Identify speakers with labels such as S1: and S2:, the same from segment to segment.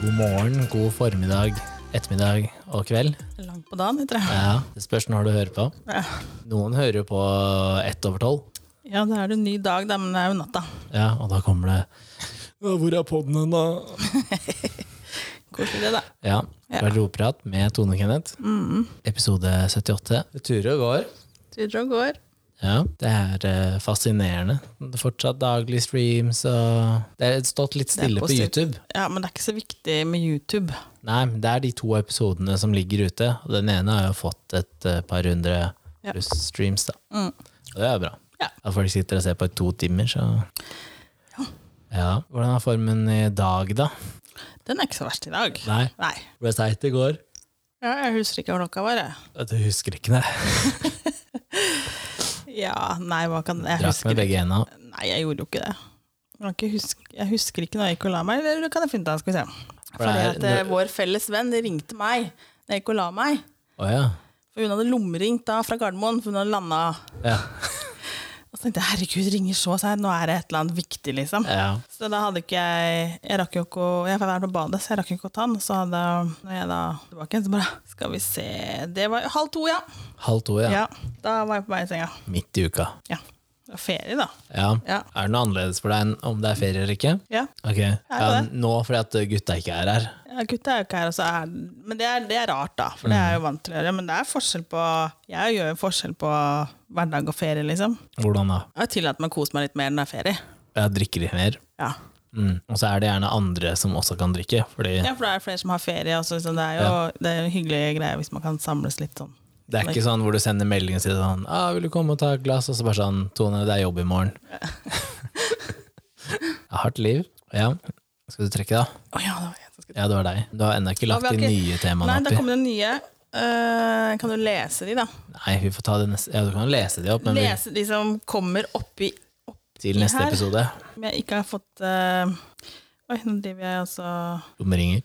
S1: God morgen, god formiddag, ettermiddag og kveld.
S2: Langt på dagen, heter det.
S1: Ja, Det spørs når du hører på.
S2: Ja.
S1: Noen hører jo på ett over tolv,
S2: ja, da er det en ny dag, da, men det er jo natta.
S1: ja, og da kommer det «Ja, 'Hvor er podden hen, da?'
S2: Koselig det, da.
S1: Ja.
S2: Ja.
S1: Garderobeprat med Tone og Kenneth. Episode 78. Det turer og går.
S2: Turer og går.
S1: Ja, det er eh, fascinerende. Det er fortsatt daglig streams og Det har stått litt stille på
S2: positivt.
S1: YouTube.
S2: Ja, men det er ikke så viktig med YouTube.
S1: Nei, men det er de to episodene som ligger ute. Og den ene har jo fått et eh, par hundre
S2: Ja.
S1: pluss streams, da.
S2: Mm.
S1: Og det er bra.
S2: Ja.
S1: At folk sitter og ser på i to timer, så ja. Hvordan er formen i dag, da?
S2: Den er ikke så verst i dag.
S1: Nei,
S2: Nei.
S1: ble seigt i går.
S2: Ja, jeg husker ikke hva klokka var. jeg.
S1: Du husker ikke det?
S2: Ja, nei, hva kan jeg
S1: Drakk med
S2: husker
S1: begge hendene.
S2: ikke- Nei, jeg gjorde jo ikke det. Jeg, kan ikke huske, jeg husker ikke når jeg gikk og la meg. Eller kan jeg finne det? Skal vi se.
S1: For det
S2: Fordi
S1: er-
S2: at eh, vår felles venn de ringte meg da jeg gikk og la meg.
S1: Å ja.
S2: For hun hadde lommeringt da fra Gardermoen, for hun hadde landa.
S1: Ja.
S2: Og så tenkte jeg herregud, ringer så seint, nå er det et eller annet viktig, liksom.
S1: ja.
S2: Så da hadde ikke jeg Jeg rakk jo ikke å Jeg var på badet, så jeg rakk jo ikke å ta den. Så hadde når jeg da tilbake igjen, så bare Skal vi se Det var jo halv to, ja.
S1: Halv to,
S2: ja.
S1: ja.
S2: Da var jeg på vei i senga.
S1: Midt i uka.
S2: Ja. Det var ferie, da.
S1: Ja.
S2: Ja.
S1: Er det noe annerledes for deg enn om det er ferie eller ikke?
S2: Ja.
S1: Ok. Ja,
S2: det.
S1: nå fordi at gutta ikke er her.
S2: ja gutta er jo ikke her, og så er Men det er, det er rart, da. For det er jeg jo vant til å gjøre. Men det er forskjell på Jeg gjør jo forskjell på hverdag og ferie, liksom.
S1: Hvordan da?
S2: Jeg har tillatt meg å kose meg litt mer når det er ferie.
S1: Jeg drikker litt mer.
S2: Ja.
S1: Mm. Og så er det gjerne andre som også kan drikke. Fordi
S2: ja, for det er flere som har ferie. og så liksom, det er jo det er en hyggelig greie hvis man kan samles litt sånn.
S1: det er ikke sånn hvor du sender melding og sier sånn ah, 'Vil du komme og ta et glass?' Og så bare sånn 'Tone, det er jobb i morgen'. Jeg har hardt liv. Ja. Skal du trekke, da?
S2: Å ja, det var jeg som skulle
S1: Ja, det var deg. Du har ennå ikke lagt
S2: Ja,
S1: de
S2: vi har ikke-
S1: nye temaene
S2: Nei, da
S1: oppi.
S2: kommer det nye. Eh, kan du lese de, da?
S1: Nei, vi får ta det neste Ja, du kan lese de opp, men vi,
S2: Lese de som kommer oppi opp
S1: til neste
S2: her.
S1: episode.
S2: Om jeg ikke har fått eh, Oi, nå driver jeg altså
S1: Bommeringer.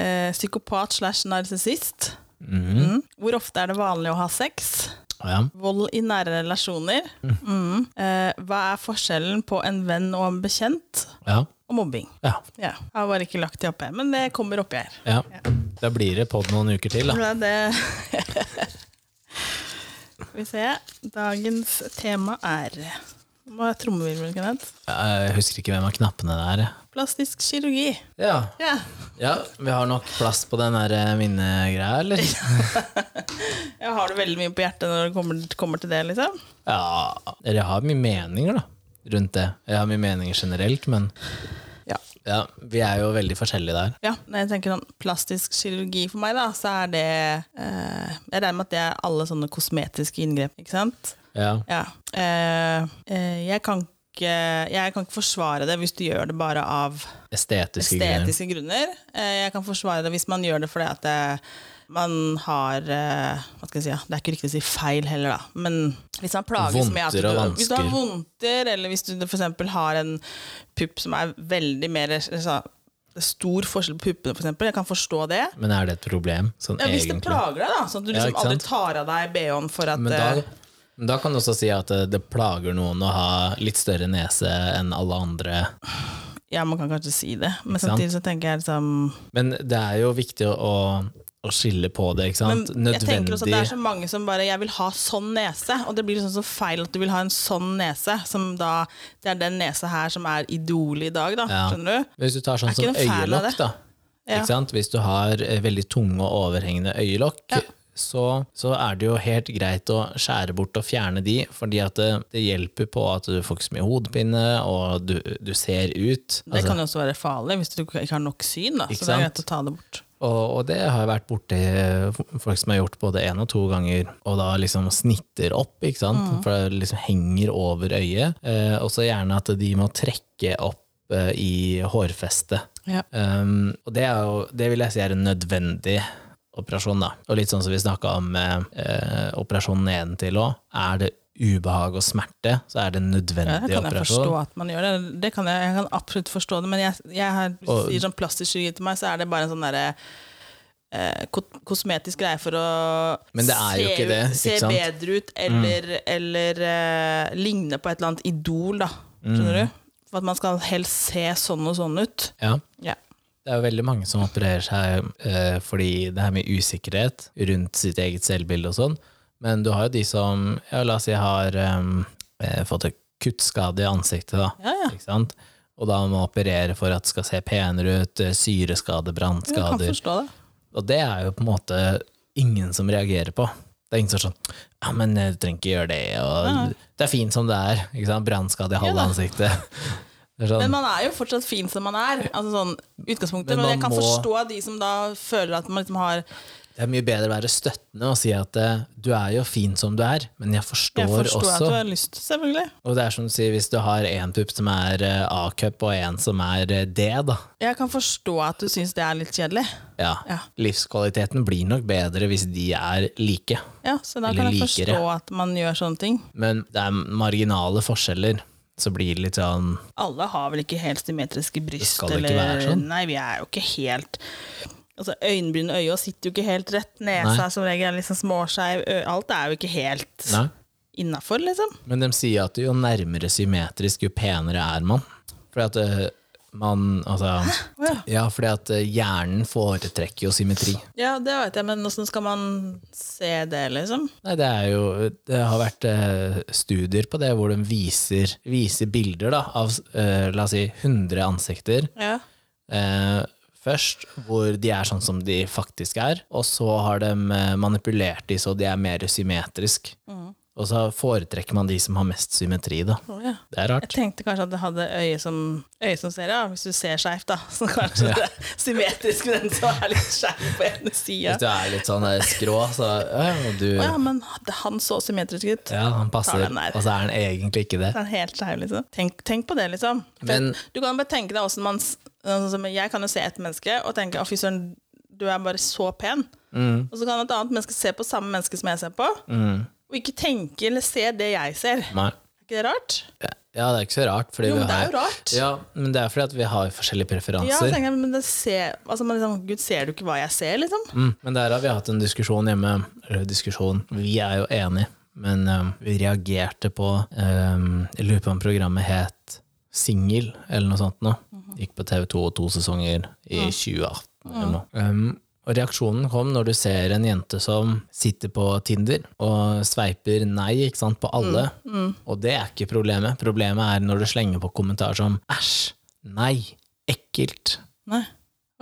S2: eh, Psykopat slash narsissist.
S1: Mm.
S2: Mm. Hvor ofte er det vanlig å ha sex?
S1: Ja.
S2: Vold i nære relasjoner. Mm. Eh, hva er forskjellen på en venn og en bekjent?
S1: ja.
S2: Og mobbing.
S1: Ja.
S2: Ja, jeg har bare ikke lagt de oppi her, men det kommer oppi her.
S1: Ja. Da blir det pod noen uker til, da.
S2: Ja, det Skal vi se. Dagens tema er Nå må jeg ha trommevirvel, Kenneth.
S1: Jeg husker ikke hvem av knappene det er. jeg.
S2: Plastisk kirurgi.
S1: Ja.
S2: Ja.
S1: ja, vi har nok plass på den der eh, minnegreia, eller?
S2: Jeg har det veldig mye på hjertet når det kommer, kommer til det, liksom.
S1: Ja, eller jeg har mye meninger da, rundt det. Jeg har mye meninger generelt, men
S2: Ja.
S1: ja, vi er jo veldig forskjellige der.
S2: ja. Når jeg tenker sånn plastisk kirurgi for meg, da, så er det eh, Jeg regner med at det er alle sånne kosmetiske inngrep, ikke sant?
S1: Ja,
S2: Ja. Eh, eh, jeg kan ikke jeg kan ikke forsvare det hvis du gjør det bare av
S1: estetiske greier.
S2: estetiske grunner. Eh, Jeg kan forsvare det hvis man gjør det fordi at eh, man har eh, Hva skal jeg si? ja, Det er ikke riktig å si feil heller, da. Men hvis man plages med at
S1: Vondter og
S2: du, hvis du har
S1: vansker.
S2: vondter, eller hvis du f.eks. har en pupp som er veldig mer altså, det er Stor forskjell på puppene, f.eks. eksempel jeg kan forstå det.
S1: Men er det et problem, sånn
S2: Ja, hvis det
S1: egentlig?
S2: plager deg, da. Sånn at du
S1: Ja,
S2: liksom
S1: ikke
S2: aldri
S1: sant?
S2: tar av deg bh-en for at
S1: Men
S2: eh,
S1: da, men da kan du også si at eh, det plager noen å ha litt større nese enn alle andre.
S2: Ja, man kan kanskje si det, men
S1: sant?
S2: samtidig så tenker jeg liksom
S1: Men det er jo viktig å, å skille på det, ikke sant?
S2: Men jeg tenker også at det er
S1: Nødvendig.
S2: så mange som bare Jeg vil ha sånn nese, og det blir liksom så feil at du vil ha en sånn nese, som da Det er den nesa her som er idolet i dag, da.
S1: Ja.
S2: Skjønner du?
S1: Hvis du tar sånn
S2: Jeg er
S1: som
S2: ikke noe fan av
S1: øyelokk,
S2: det.
S1: da.
S2: Ja.
S1: Ikke sant? Hvis du har eh, veldig tunge og overhengende øyelokk, så, så er det jo helt greit å skjære bort og fjerne de, fordi at det, det hjelper på at du får ikke så mye hodepine, og du, du ser ut.
S2: Det
S1: Altså,
S2: kan jo også være farlig hvis du ikke har nok syn, da.
S1: Ikke
S2: Så det er
S1: sant?
S2: greit å ta det bort.
S1: og, og det har jeg vært borti eh, folk som har gjort både én og to ganger, og da liksom snitter opp, ikke sant?
S2: Mm.
S1: For det liksom henger over øyet. Eh, og så gjerne at de må trekke opp eh, i hårfestet.
S2: Ja.
S1: Um, og det, er jo, det vil jeg si er en nødvendig operasjon, da. Og litt sånn som vi snakka om eh, eh, operasjonen nedentil òg. Er det ubehag og smerte, så er det en
S2: Det kan
S1: nødvendig
S2: jeg forstå
S1: operasjon.
S2: at man gjør det. det kan jeg, jeg kan absolutt forstå det, men jeg, jeg har, hvis
S1: Og-
S2: du sier sånn plastisk kirurgi til meg, så er det bare en sånn derre eh, ko- kosmetisk greie for å
S1: Men det er jo
S2: se,
S1: ikke det,
S2: ut- se
S1: ikke sant? Mm. Mm.
S2: bedre ut, eller, eller eh, ligne på et eller annet idol, da. Skjønner du? For at man skal helst se sånn og sånn ut.
S1: Ja.
S2: Ja.
S1: Det er jo veldig mange som opererer seg eh, fordi det er mye usikkerhet rundt sitt eget selvbilde og sånn, men du har jo de som, ja, la oss si, har em, eh, fått en kuttskade i ansiktet, da.
S2: Ja, ja.
S1: Ikke sant? Og da må operere for at det skal se penere ut, eh, syreskade,
S2: Du kan
S1: brannskader.
S2: forstå det.
S1: Og det er jo på en måte ingen som reagerer på. Det er ingen som er sånn Ja, men eh, du trenger ikke gjøre det,
S2: Nei.
S1: og det er fint som det er. Ikke sant? Brannskade i halve
S2: Ja.
S1: ansiktet. Det er sånn,
S2: Men man er jo fortsatt fin som man er. Altså sånn utgangspunktet
S1: Men
S2: Men,
S1: man
S2: jeg kan
S1: må-
S2: forstå de som da føler at man liksom har
S1: det er mye bedre å være støttende og si at eh, du er jo fin som du er, men jeg forstår,
S2: Jeg forstår at
S1: også.
S2: du har lyst, selvfølgelig.
S1: Og det er som du sier, hvis du har én pupp som er eh, A-cup og én som er eh, D, da.
S2: Jeg kan forstå at du syns det er litt kjedelig.
S1: Ja.
S2: Ja.
S1: Livskvaliteten blir nok bedre hvis de er like.
S2: Ja, Så da
S1: Eller
S2: kan jeg
S1: liker
S2: forstå at man gjør sånne ting.
S1: Men det er marginale forskjeller. Så blir det litt sånn
S2: Alle har vel ikke helt symmetriske bryst?
S1: skal det ikke være sånn.
S2: Nei, vi er jo ikke helt Altså, Øyenbryn og øya sitter jo ikke helt rett. Nesa
S1: Nei.
S2: er som regel er liksom småskeiv. Ø- Alt er jo ikke helt
S1: Nei.
S2: innafor, liksom.
S1: Men de sier at jo nærmere symmetrisk, jo penere er man. Fordi at øh, man Altså
S2: Å ja.
S1: Ja, fordi at øh, hjernen foretrekker jo symmetri.
S2: ja, det veit jeg, men åssen skal man se det, liksom?
S1: Nei, det er jo Det har vært øh, studier på det hvor de viser, viser bilder da, av øh, la oss si 100 ansikter
S2: Ja.
S1: eh, først, hvor de er sånn som de faktisk er, og så har de eh, manipulert de så de er mer symmetrisk. Og så foretrekker man de som har mest symmetri, da.
S2: Å ja.
S1: Det er rart.
S2: Jeg tenkte kanskje at det hadde øye som, øye som ser, ja, hvis du ser skeivt, da. Så kanskje det er symmetrisk med den som er litt skeiv på ene sida.
S1: Hvis du er litt sånn eh, skrå, så ja, og du,
S2: Å ja, men han så symmetrisk ut.
S1: ja, han passer,
S2: Tar den der.
S1: og så er han egentlig ikke det.
S2: Det er helt skeiv, liksom. Tenk, tenk på det, liksom. For
S1: Men-
S2: du kan bare tenke deg hvordan man s- sånn som Jeg kan jo se et menneske og tenke 'Å, fy søren, du er bare så pen'. Og så kan et annet menneske se på samme menneske som jeg ser på, og ikke tenke eller se det jeg ser.
S1: Nei.
S2: Er ikke det rart?
S1: Ja, det er ikke så rart. Fordi
S2: Jo,
S1: vi
S2: men det er
S1: har-
S2: jo rart.
S1: Ja, men det er fordi at vi har forskjellige
S2: Ja,
S1: preferanser.
S2: tenker jeg, men det ser, altså man liksom, Gud, ser du ikke hva jeg ser, liksom?
S1: mm, men der har vi hatt en diskusjon hjemme. Eller diskusjon, vi er jo enige, men eh, vi reagerte på eh, Jeg lurer på om programmet het Singel, eller noe sånt noe. Gikk på TV2 og to sesonger i 2018 eller noe. Um, og reaksjonen kom når du ser en jente som sitter på Tinder og sveiper nei ikke sant, på alle. Og det er ikke problemet. Problemet er når du slenger på kommentarer som æsj, nei, ekkelt.
S2: Nei.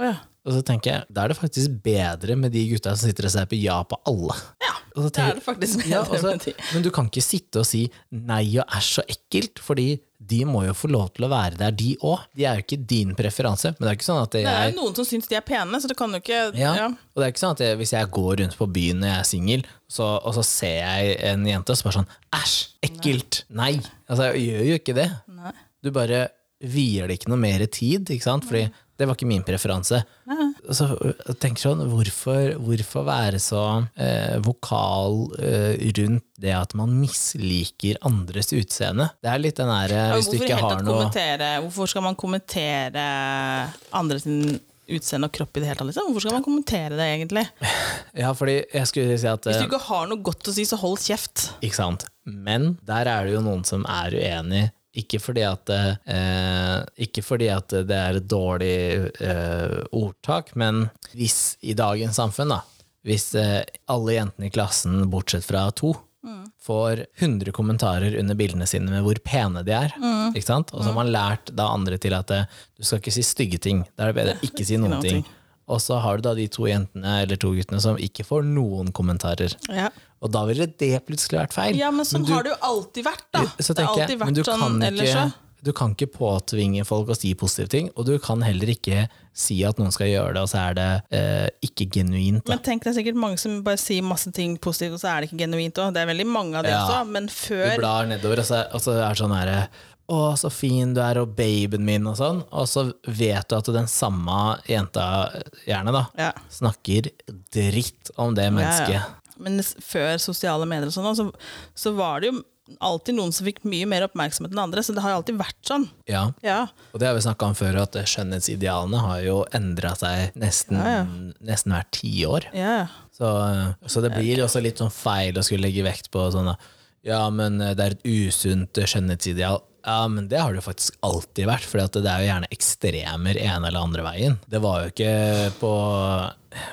S2: Å ja.
S1: Og så tenker jeg, da er det faktisk bedre med de gutta som sitter og ser på ja på alle.
S2: Ja,
S1: Og så
S2: det
S1: tenker-
S2: er det faktisk
S1: Ja, altså,
S2: bedre
S1: og så-
S2: med de.
S1: men du kan ikke sitte og si nei og æsj så ekkelt, fordi de må jo få lov til å være der, de òg. De er jo ikke din preferanse, men det er ikke sånn at jeg
S2: Det er jo noen som syns de er pene, så det kan jo ikke
S1: ja.
S2: ja.
S1: Og det er ikke sånn at jeg, hvis jeg går rundt på byen når jeg er singel, så- og så ser jeg en jente og så bare sånn Æsj, ekkelt! Nei! Altså, jeg gjør jo ikke det.
S2: Nei.
S1: Du bare vier det ikke noe mer tid, ikke sant? Fordi det var ikke min preferanse. Og så øh, jeg tenker sånn, hvorfor, hvorfor være så eh, vokal eh, rundt det at man misliker andres utseende? Det er litt den derre
S2: Ja, men
S1: Hvis du
S2: hvorfor
S1: ikke
S2: helt
S1: har
S2: tatt
S1: noe
S2: kommentere, Hvorfor skal man kommentere andre sin utseende og kropp i det hele tatt? Liksom? Hvorfor skal man kommentere det, egentlig?
S1: Ja, fordi jeg skulle si at
S2: Hvis du
S1: eh,
S2: ikke har noe godt å si, så hold kjeft.
S1: Ikke sant? Men der er det jo noen som er uenig. Ikke fordi at, eh, ikke fordi at det er et dårlig eh, ordtak, men hvis i dagens samfunn, da, hvis eh, alle jentene i klassen, bortsett fra to, får 100 kommentarer under bildene sine med hvor pene de er, ikke sant? og så har man lært da andre til at eh, du skal ikke si stygge ting, da er det bedre å ikke si noen
S2: noen
S1: ting. Og så har du da de to jentene eller to guttene som ikke får noen kommentarer.
S2: Ja,
S1: Og da ville det plutselig vært feil.
S2: men sånn
S1: du,
S2: har det jo alltid vært, da.
S1: så
S2: det har
S1: tenker jeg,
S2: alltid vært
S1: men du
S2: sånn
S1: kan
S2: ellers
S1: ikke,
S2: òg.
S1: du kan ikke påtvinge folk å si positive ting, og du kan heller ikke si at noen skal gjøre det, og så er det eh, ikke genuint. Da.
S2: Men tenk, det er sikkert mange som bare sier masse ting positivt, og så er det ikke genuint òg. Det er veldig mange av det
S1: Ja.
S2: også, men
S1: Du
S2: før
S1: blar nedover, og så, og så er det sånn herre å, så fin du er, og babyen min, og sånn. Og så vet du at den samme jenta, gjerne, da,
S2: ja.
S1: snakker dritt om det mennesket.
S2: Ja, ja. Men s- før sosiale medier og sånn, så, så var det jo alltid noen som fikk mye mer oppmerksomhet enn andre, så det har jo alltid vært sånn.
S1: Ja.
S2: Ja.
S1: Og det har vi snakka om før, at skjønnhetsidealene har jo endra seg nesten, nesten hvert tiår.
S2: Ja, ja.
S1: Så, eh, så det blir også eh, litt sånn feil å skulle legge vekt på sånn Ja, men det er et usunt skjønnhetsideal. Ja, men det har det jo faktisk alltid vært, for det er jo gjerne ekstremer ene eller andre veien. Det var jo ikke på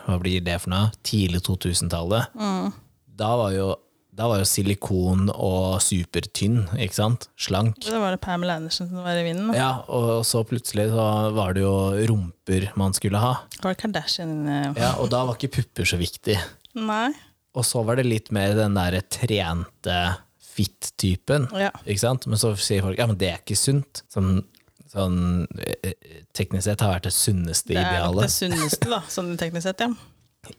S1: hva blir det for noe, tidlig 2000-tallet. Da, var jo, da var jo silikon og supertynn, ikke sant? Slank.
S2: Da var det Pamela Andersen som var i vinden. da.
S1: Ja, og så plutselig så var det jo rumper man skulle ha.
S2: Var det Kardashian eh,
S1: Ja, og da var ikke pupper så viktig.
S2: Nei.
S1: Og så var det litt mer den der trente fit-typen.
S2: Ja.
S1: Ikke sant? Men så sier folk ja, men det er ikke sunt. Som sånn, eh, teknisk sett har vært det sunneste
S2: Det er nok det
S1: idealet.
S2: sunneste, da, sånn teknisk sett, ja.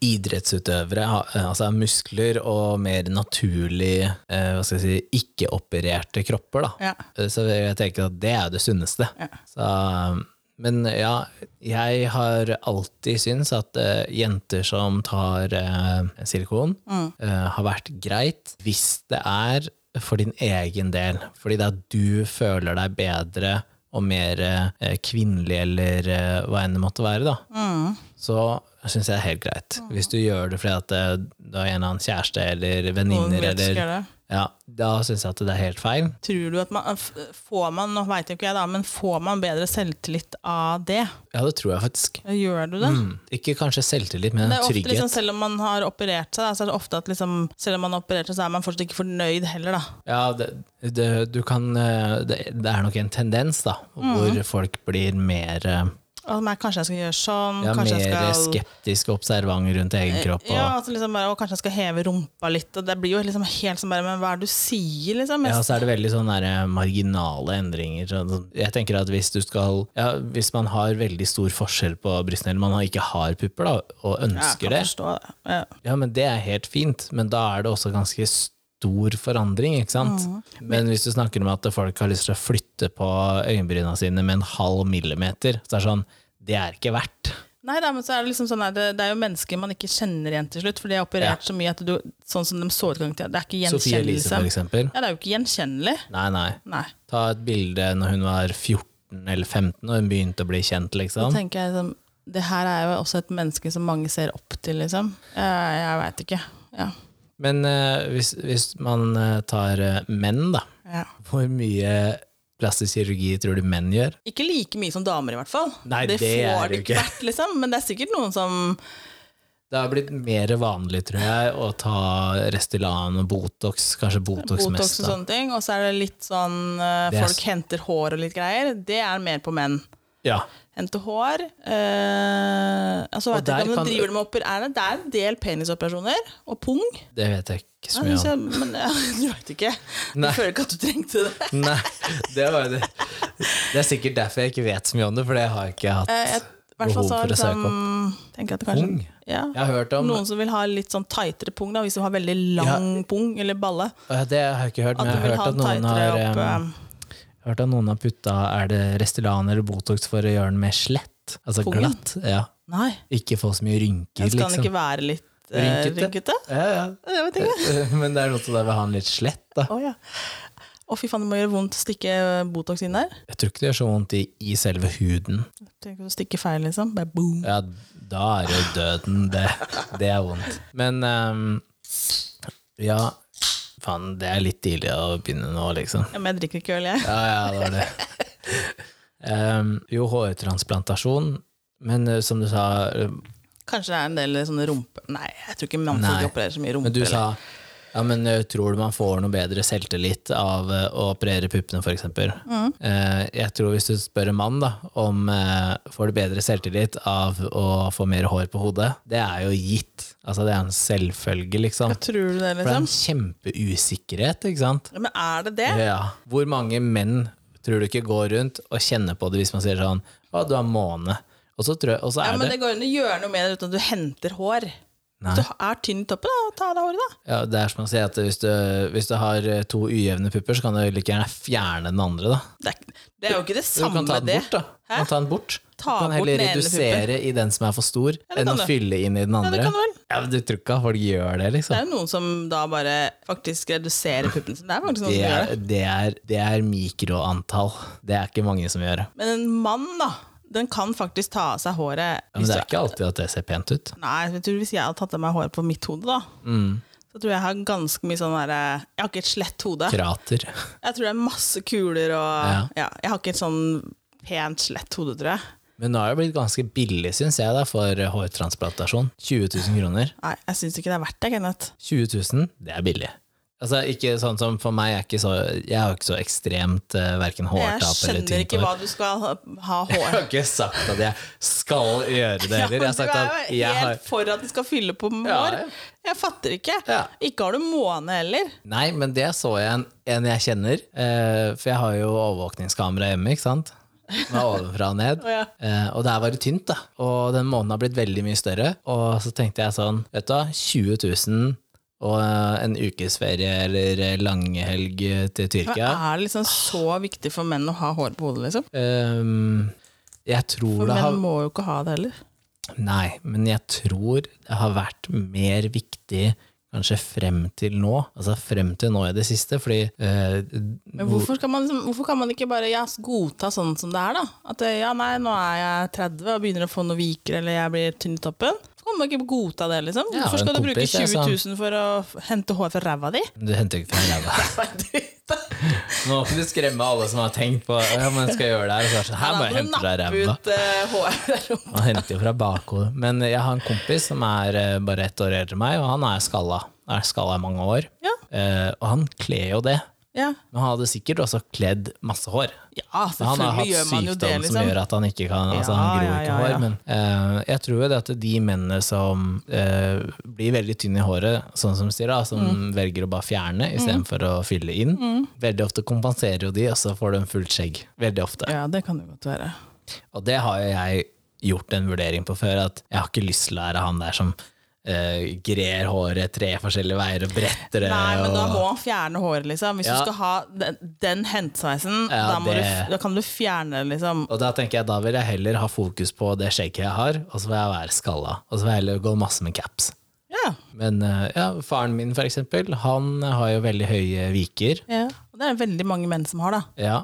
S1: Idrettsutøvere har eh, altså, er muskler og mer naturlig eh, hva skal jeg si, ikke-opererte kropper. Da.
S2: Ja.
S1: Eh, Så jeg tenker at det er det sunneste.
S2: Ja.
S1: Så, men ja, jeg har alltid syntes at eh, jenter som tar eh, silikon,
S2: Mm.
S1: eh, har vært greit hvis det er for din egen del. Fordi da du føler deg bedre og mer eh, kvinnelig, eller eh, hva enn det måtte være, da
S2: Mm.
S1: så syns jeg det er helt greit. Hvis du gjør det fordi at eh, du har en eller annen kjæreste eller
S2: Noen
S1: venninner,
S2: vet ikke
S1: eller
S2: det.
S1: ja, Da syns jeg at det er helt feil.
S2: Tror du at man f- Får man, nå vet jo ikke jeg da, men får man bedre selvtillit av det?
S1: Ja, det tror jeg faktisk.
S2: Gjør du det?
S1: Mm. Ikke kanskje selvtillit, men
S2: Det er ofte
S1: trygghet.
S2: liksom, Selv om man har operert seg, da, så er det ofte at liksom, selv om man har operert seg, så er man fortsatt ikke fornøyd heller. Da.
S1: Ja, det, det, du kan, eh, det, det er nok en tendens, da,
S2: Mm.
S1: hvor folk blir mer, eh,
S2: At man, kanskje jeg skal gjøre sånn,
S1: ja,
S2: kanskje
S1: mer
S2: jeg skal
S1: skeptisk og observant rundt egen kropp. Og,
S2: Ja, altså liksom bare, og kanskje jeg skal heve rumpa litt. Og det blir jo liksom helt sånn bare Men hva er det du sier, liksom?
S1: Ja,
S2: Jeg,
S1: så er det veldig sånn der marginale endringer. Sånn- Jeg tenker at hvis du skal ja, Hvis man har veldig stor forskjell på brystene, eller man har- ikke har pupper da, og
S2: jeg
S1: ønsker
S2: kan
S1: det,
S2: forstå det. Ja.
S1: ja, men det er helt fint, men da er det også ganske stor forandring, ikke sant? Men hvis du snakker om at folk har lyst til å flytte på øyenbryna sine med en halv millimeter, så er det sånn Det er ikke verdt.
S2: Nei da, men så er det liksom sånn her, det, det er jo mennesker man ikke kjenner igjen til slutt, for de har operert så mye at du, sånn som de så ut gang til, det er ikke
S1: Sophie Elise,
S2: gjenkjennelse.
S1: for eksempel.
S2: Ja, det er jo ikke gjenkjennelig.
S1: Nei, nei.
S2: Nei.
S1: Ta et bilde når hun var 14 eller 15, og hun begynte å bli kjent,
S2: Da
S1: liksom.
S2: tenker jeg liksom, det her er jo også et menneske som mange ser opp til, liksom. Jeg, jeg veit ikke. Ja.
S1: Men eh, hvis, hvis man eh, tar eh, menn, da.
S2: ja.
S1: Hvor mye plastisk kirurgi tror du menn gjør?
S2: Ikke like mye som damer, i hvert fall.
S1: Nei, det er det jo ikke.
S2: vært, liksom. Men det er sikkert noen som
S1: Det har blitt mer vanlig, tror jeg, å ta Restylan og Botox. Kanskje Botox,
S2: Botox
S1: mest,
S2: og sånn.
S1: da.
S2: sånne ting. Og så er det litt sånn eh,
S1: Det er
S2: folk henter hår og litt greier. Det er mer på menn.
S1: Ja.
S2: Hente hår eh, altså, vet
S1: der
S2: jeg ikke om
S1: kan-
S2: de driver med oper er det, det er en del penisoperasjoner. Og pung.
S1: Det vet jeg ikke så
S2: Nei,
S1: mye
S2: synes
S1: om.
S2: jeg, men ja, du veit ikke. Du
S1: Nei.
S2: føler ikke at du trengte det.
S1: Nei, det, var jo det. det er sikkert derfor jeg ikke vet så mye om det, for det har jeg ikke hatt
S2: Eh, jeg, i hvert
S1: behov
S2: fall så
S1: for å
S2: er det
S1: søke opp.
S2: liksom, tenker jeg at det kanskje,
S1: Pung?
S2: Ja.
S1: Jeg har hørt om
S2: Noen som vil ha litt sånn tightere pung, da, hvis du har veldig lang pung eller balle.
S1: Ja, Det har jeg ikke hørt,
S2: At
S1: men
S2: du
S1: jeg har
S2: vil
S1: hørt
S2: ha
S1: at
S2: den
S1: noen
S2: tightere
S1: har
S2: opp
S1: em,
S2: eh,
S1: Jeg har hørt at noen har putta er det Restylan eller Botox for å gjøre den mer slett. Altså
S2: Pungen?
S1: glatt. Ja.
S2: Nei,
S1: Ikke få så mye rynker,
S2: den skal den
S1: liksom.
S2: ikke være litt eh,
S1: Rynkete?
S2: rynkete?
S1: Ja, ja.
S2: Jeg vet ikke.
S1: Men det er noe til det vil ha den litt slett, da.
S2: Å ja. Å, fy faen, det må gjøre vondt å stikke Botox inn der.
S1: Jeg tror ikke det gjør så vondt i, i selve huden.
S2: Tenk å stikke feil, liksom. Bare boom.
S1: Ja, da er jo døden det. Det er vondt. Men ehm, ja Faen, det er litt tidlig å begynne nå, liksom.
S2: Ja, men jeg drikker ikke øl, jeg.
S1: Ja, ja, det var det. Ehm, jo, hårtransplantasjon, men eh, som du sa eh,
S2: Kanskje det er en del sånne rumpe... Nei, jeg tror ikke
S1: Nei.
S2: mannfolk opererer så mye rumpe.
S1: Men du
S2: eller-
S1: sa ja, men eh, tror du man får noe bedre selvtillit av eh, å operere puppene, f.eks.? Mm. Jeg tror hvis du spør en mann da, om eh, får du bedre selvtillit av å få mer hår på hodet, det er jo gitt. Altså, det er en selvfølge, liksom.
S2: Hva tror du det,
S1: For det er
S2: liksom?
S1: en kjempeusikkerhet, ikke sant?
S2: Ja, Men er det det?
S1: Ja. Hvor mange menn tror du ikke går rundt og kjenner på det hvis man sier sånn Å, du har måne. Og så, tror jeg, og så
S2: Ja,
S1: er
S2: men
S1: det
S2: det går jo an å gjøre noe med det uten at du henter hår.
S1: Nei.
S2: Du er tynn i toppen, da. Ta av deg håret, da.
S1: Ja, det er som å si at hvis du, hvis du har eh, to ujevne pupper, så kan du like gjerne fjerne den andre, da.
S2: Det er, ikke- det er jo ikke det
S1: Du
S2: samme,
S1: kan ta den
S2: det.
S1: bort, da. Du
S2: Hæ?
S1: kan ta den bort.
S2: Ta
S1: du kan
S2: bort
S1: heller
S2: den ene
S1: redusere i den som er for stor,
S2: det
S1: enn å
S2: kan du.
S1: fylle inn i den
S2: Ja,
S1: andre.
S2: det kan du vel.
S1: Ja, men du tror ikke at folk gjør det,
S2: Det
S1: liksom.
S2: er jo noen som da bare faktisk reduserer puppene sine. Det er faktisk noen
S1: Det
S2: som gjør
S1: er,
S2: det.
S1: det er, det er mikroantall. Det er ikke mange som gjør det.
S2: Men en mann, da, den kan faktisk ta av seg håret.
S1: Men
S2: Hvis
S1: det er
S2: du,
S1: ikke alltid at det ser pent ut. Mm.
S2: nei, jeg tror hvis jeg hadde tatt av meg håret på mitt hode, da, så tror jeg jeg har ganske mye sånn derre Jeg har ikke et slett hode.
S1: Krater.
S2: Jeg tror det er masse kuler og
S1: Ja.
S2: ja. Jeg har ikke et sånn pent slett hode, tror jeg.
S1: Men nå har det blitt ganske billig, syns jeg, da, for hårtransplantasjon. 20 000 kroner.
S2: Nei, jeg syns ikke det er verdt det, Kenneth.
S1: 20 000, det er billig. Altså, ikke sånn som for meg, jeg er ikke så, jeg har ikke så ekstremt uh, verken
S2: Jeg
S1: hårtap eller
S2: skjønner
S1: tynt
S2: ikke
S1: hår.
S2: hva du skal ha- ha
S1: Jeg
S2: hår
S1: har ikke sagt at jeg skal gjøre det heller. Jeg har sagt
S2: du
S1: at
S2: er jo
S1: jeg
S2: helt
S1: har
S2: for at du skal fylle på med
S1: Ja,
S2: hår.
S1: ja.
S2: Jeg fatter ikke.
S1: Ja.
S2: Ikke har du måne heller.
S1: Nei, men det så jeg en, en jeg kjenner. eh, for jeg har jo overvåkningskamera hjemme, ikke sant? Med ovenfra og ned.
S2: Å ja.
S1: Eh, og der var det tynt, da. Og den måneden har blitt veldig mye større. Og så tenkte jeg sånn, vet du hva, 20 000 og eh, en ukesferie eller langhelg til
S2: Men
S1: Tyrkia.
S2: Er det liksom så viktig for menn å ha hår på hodet, liksom?
S1: Ehm, jeg tror
S2: For
S1: det har
S2: menn må jo ikke ha det heller.
S1: Nei, men jeg tror det har vært mer viktig kanskje frem til nå. Altså frem til nå i det siste, fordi eh,
S2: Men hvorfor, skal man liksom, hvorfor kan man ikke bare ja, godta sånn som det er, da? At eh, ja, nei, nå er jeg 30 og begynner å få noen viker, eller jeg blir tynn i toppen. Så kan man ikke godta det, liksom.
S1: Jeg har
S2: Hvorfor
S1: en
S2: skal du bruke
S1: kompis,
S2: 20
S1: jeg, som-
S2: 000 for å f- hente hår fra ræva di?
S1: Du henter ikke fra ræva. Nå må ikke du skremme alle som har tenkt på ja, men skal jeg gjøre det her. Og så er det sånn, her må jeg hente fra ræva.
S2: ut eh, hår der oppe.
S1: Han henter jo fra bakhodet. Men jeg har en kompis som er eh, bare ett år eldre enn meg, og han er skalla. Er skalla i mange år.
S2: Ja.
S1: Eh, og han kler jo det.
S2: Ja.
S1: Men han hadde sikkert også kledd masse hår.
S2: Ja,
S1: Han har hatt
S2: selvfølgelig gjør man jo det,
S1: sykdom som
S2: liksom.
S1: gjør at han ikke kan altså
S2: Ja,
S1: Han gror
S2: ja,
S1: ikke
S2: ja, ja.
S1: hår. Men eh, jeg tror jo det at de mennene som eh, blir veldig tynne i håret, sånn som du sier, da, som
S2: Mm.
S1: velger å bare fjerne istedenfor å fylle inn, veldig ofte kompenserer jo de, og så får de fullt skjegg. Veldig ofte.
S2: Ja, det kan det godt være.
S1: Og det har jo jeg gjort en vurdering på før, at jeg har ikke lyst til å være han der som eh, grer håret tre forskjellige veier og bretter det.
S2: Nei, men da
S1: og-
S2: må han fjerne håret, liksom. Hvis
S1: Ja.
S2: du skal ha den, den hentesveisen,
S1: Ja,
S2: da, må
S1: det-
S2: du, da kan du fjerne det, liksom.
S1: Og da tenker jeg, da vil jeg heller ha fokus på det skjegget jeg har, og så vil jeg være skalla. Og så vil jeg heller gå masse med caps.
S2: Ja.
S1: Men eh, ja, faren min for eksempel, han har jo veldig høye viker.
S2: ja. Og det er det veldig mange menn som har, da.
S1: Ja.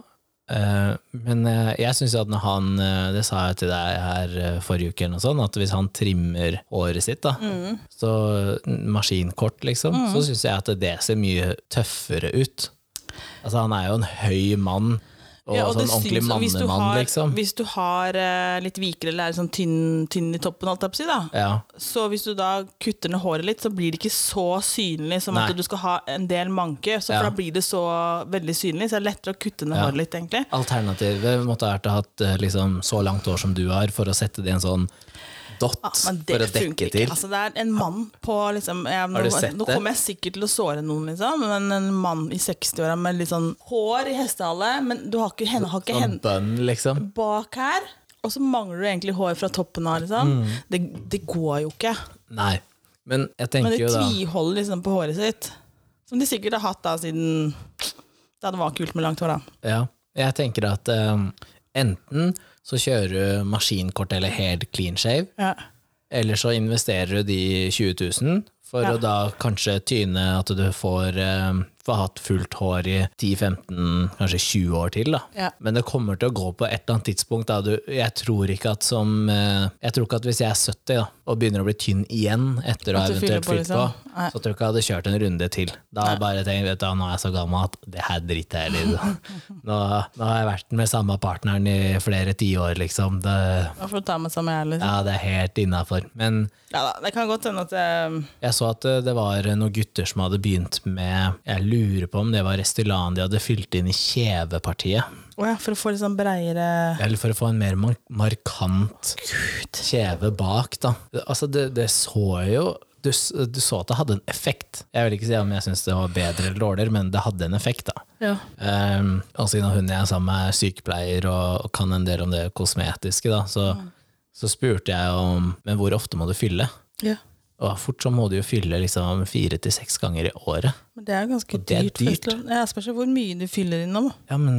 S1: eh, men eh, jeg syns at når han eh, Det sa jeg til deg her eh, forrige uke, eller noe sånt, at hvis han trimmer håret sitt, da,
S2: Mm.
S1: så mm, maskinkort, liksom, så syns jeg at det ser mye tøffere ut. Altså, han er jo en høy mann, og,
S2: Ja, det
S1: sånn ordentlig
S2: syns- og hvis du
S1: mannemann,
S2: har-
S1: liksom.
S2: Hvis du har eh, litt viker eller er sånn tynn, tynn i toppen, holdt jeg på å si, da.
S1: Ja.
S2: Så hvis du da kutter ned håret litt, så blir det ikke så synlig som
S1: Nei.
S2: at du skal ha en del manke. Så
S1: Ja.
S2: for da blir det så veldig synlig, så det er lettere å kutte ned håret litt, egentlig.
S1: Alternativet måtte vært å ha hatt eh, liksom, så langt hår som du har, for å sette det i en sånn dott
S2: Ja, Ah, men det
S1: for å dekke
S2: funker ikke.
S1: til.
S2: Altså, det er en mann på liksom, jeg, nå,
S1: Har du sett
S2: nå
S1: det?
S2: kommer jeg sikkert til å såre noen, liksom, men en mann i 60-åra med litt sånn hår i hestehale, men du har ikke, henne, har ikke
S1: Sånn
S2: henne
S1: bønn, liksom.
S2: bak her, og så mangler du egentlig hår fra toppen av. Liksom.
S1: Mm.
S2: Det, det går jo ikke.
S1: Nei. Men jeg
S2: Men
S1: tenker
S2: de
S1: jo da
S2: tviholder liksom på håret sitt, som de sikkert har hatt da siden da det var kult med langt hår. Da.
S1: ja, Jeg tenker at eh, enten så kjører du maskinkort eller helt clean shave,
S2: Ja.
S1: eller så investerer du de 20 000 for
S2: Ja.
S1: å da kanskje tyne at du får eh, få hatt fullt hår i 10-15, kanskje 20 år til, da.
S2: Ja.
S1: Men det kommer til å gå på et eller annet tidspunkt. Da. Du, jeg tror ikke at som eh, Jeg tror ikke at hvis jeg er 70 da, og begynner å bli tynn igjen etter å ha
S2: At du fyller
S1: eventuelt
S2: på,
S1: fylt på,
S2: liksom. Nei.
S1: så tror jeg ikke jeg hadde kjørt en runde til. Da bare tenker jeg vet du, nå er jeg så gammel at det her driter jeg i. liksom. Nå, nå har jeg vært med samme partneren i flere tiår, liksom. Det,
S2: Da får du ta med seg med jeg, liksom.
S1: ja, det er helt innafor. Men
S2: Ja da, det kan godt hende at eh,
S1: jeg så at eh, det var noen gutter som hadde begynt med Jeg lurer på om det var Restylan de hadde fylt inn i kjevepartiet.
S2: Å ja, for å få litt sånn breiere
S1: Eller for å få en mer mar markant kjeve bak, da. Altså, det, det så jeg jo du, s- du så at det hadde en effekt. Jeg vil ikke si om jeg syns det var bedre eller dårligere, men det hadde en effekt, da.
S2: Ja.
S1: Um, og siden hun jeg er sammen med, er sykepleier og, og kan en del om det kosmetiske, da, så, så spurte jeg om Men hvor ofte må du fylle?
S2: Ja.
S1: Og fort så må du jo fylle liksom fire til seks ganger i året.
S2: Men det er jo ganske
S1: det er
S2: dyrt.
S1: dyrt.
S2: først. Jeg spørs jo hvor mye du fyller inn nå. da.
S1: Ja, men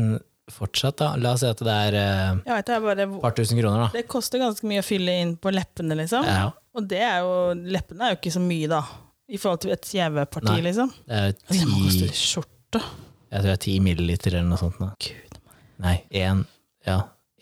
S1: fortsatt, da. La oss si at det er eh, et
S2: Jeg vet, det, er bare,
S1: par tusen kroner, da.
S2: det koster ganske mye å fylle inn på leppene, liksom.
S1: Ja,
S2: Og det er jo, leppene er jo ikke så mye, da. I forhold til et kjeveparti,
S1: Nei.
S2: liksom.
S1: det er
S2: Det må
S1: ti
S2: koste skjorte.
S1: Jeg tror det er 10 milliliter eller noe sånt. nå. Nei, 1 ja,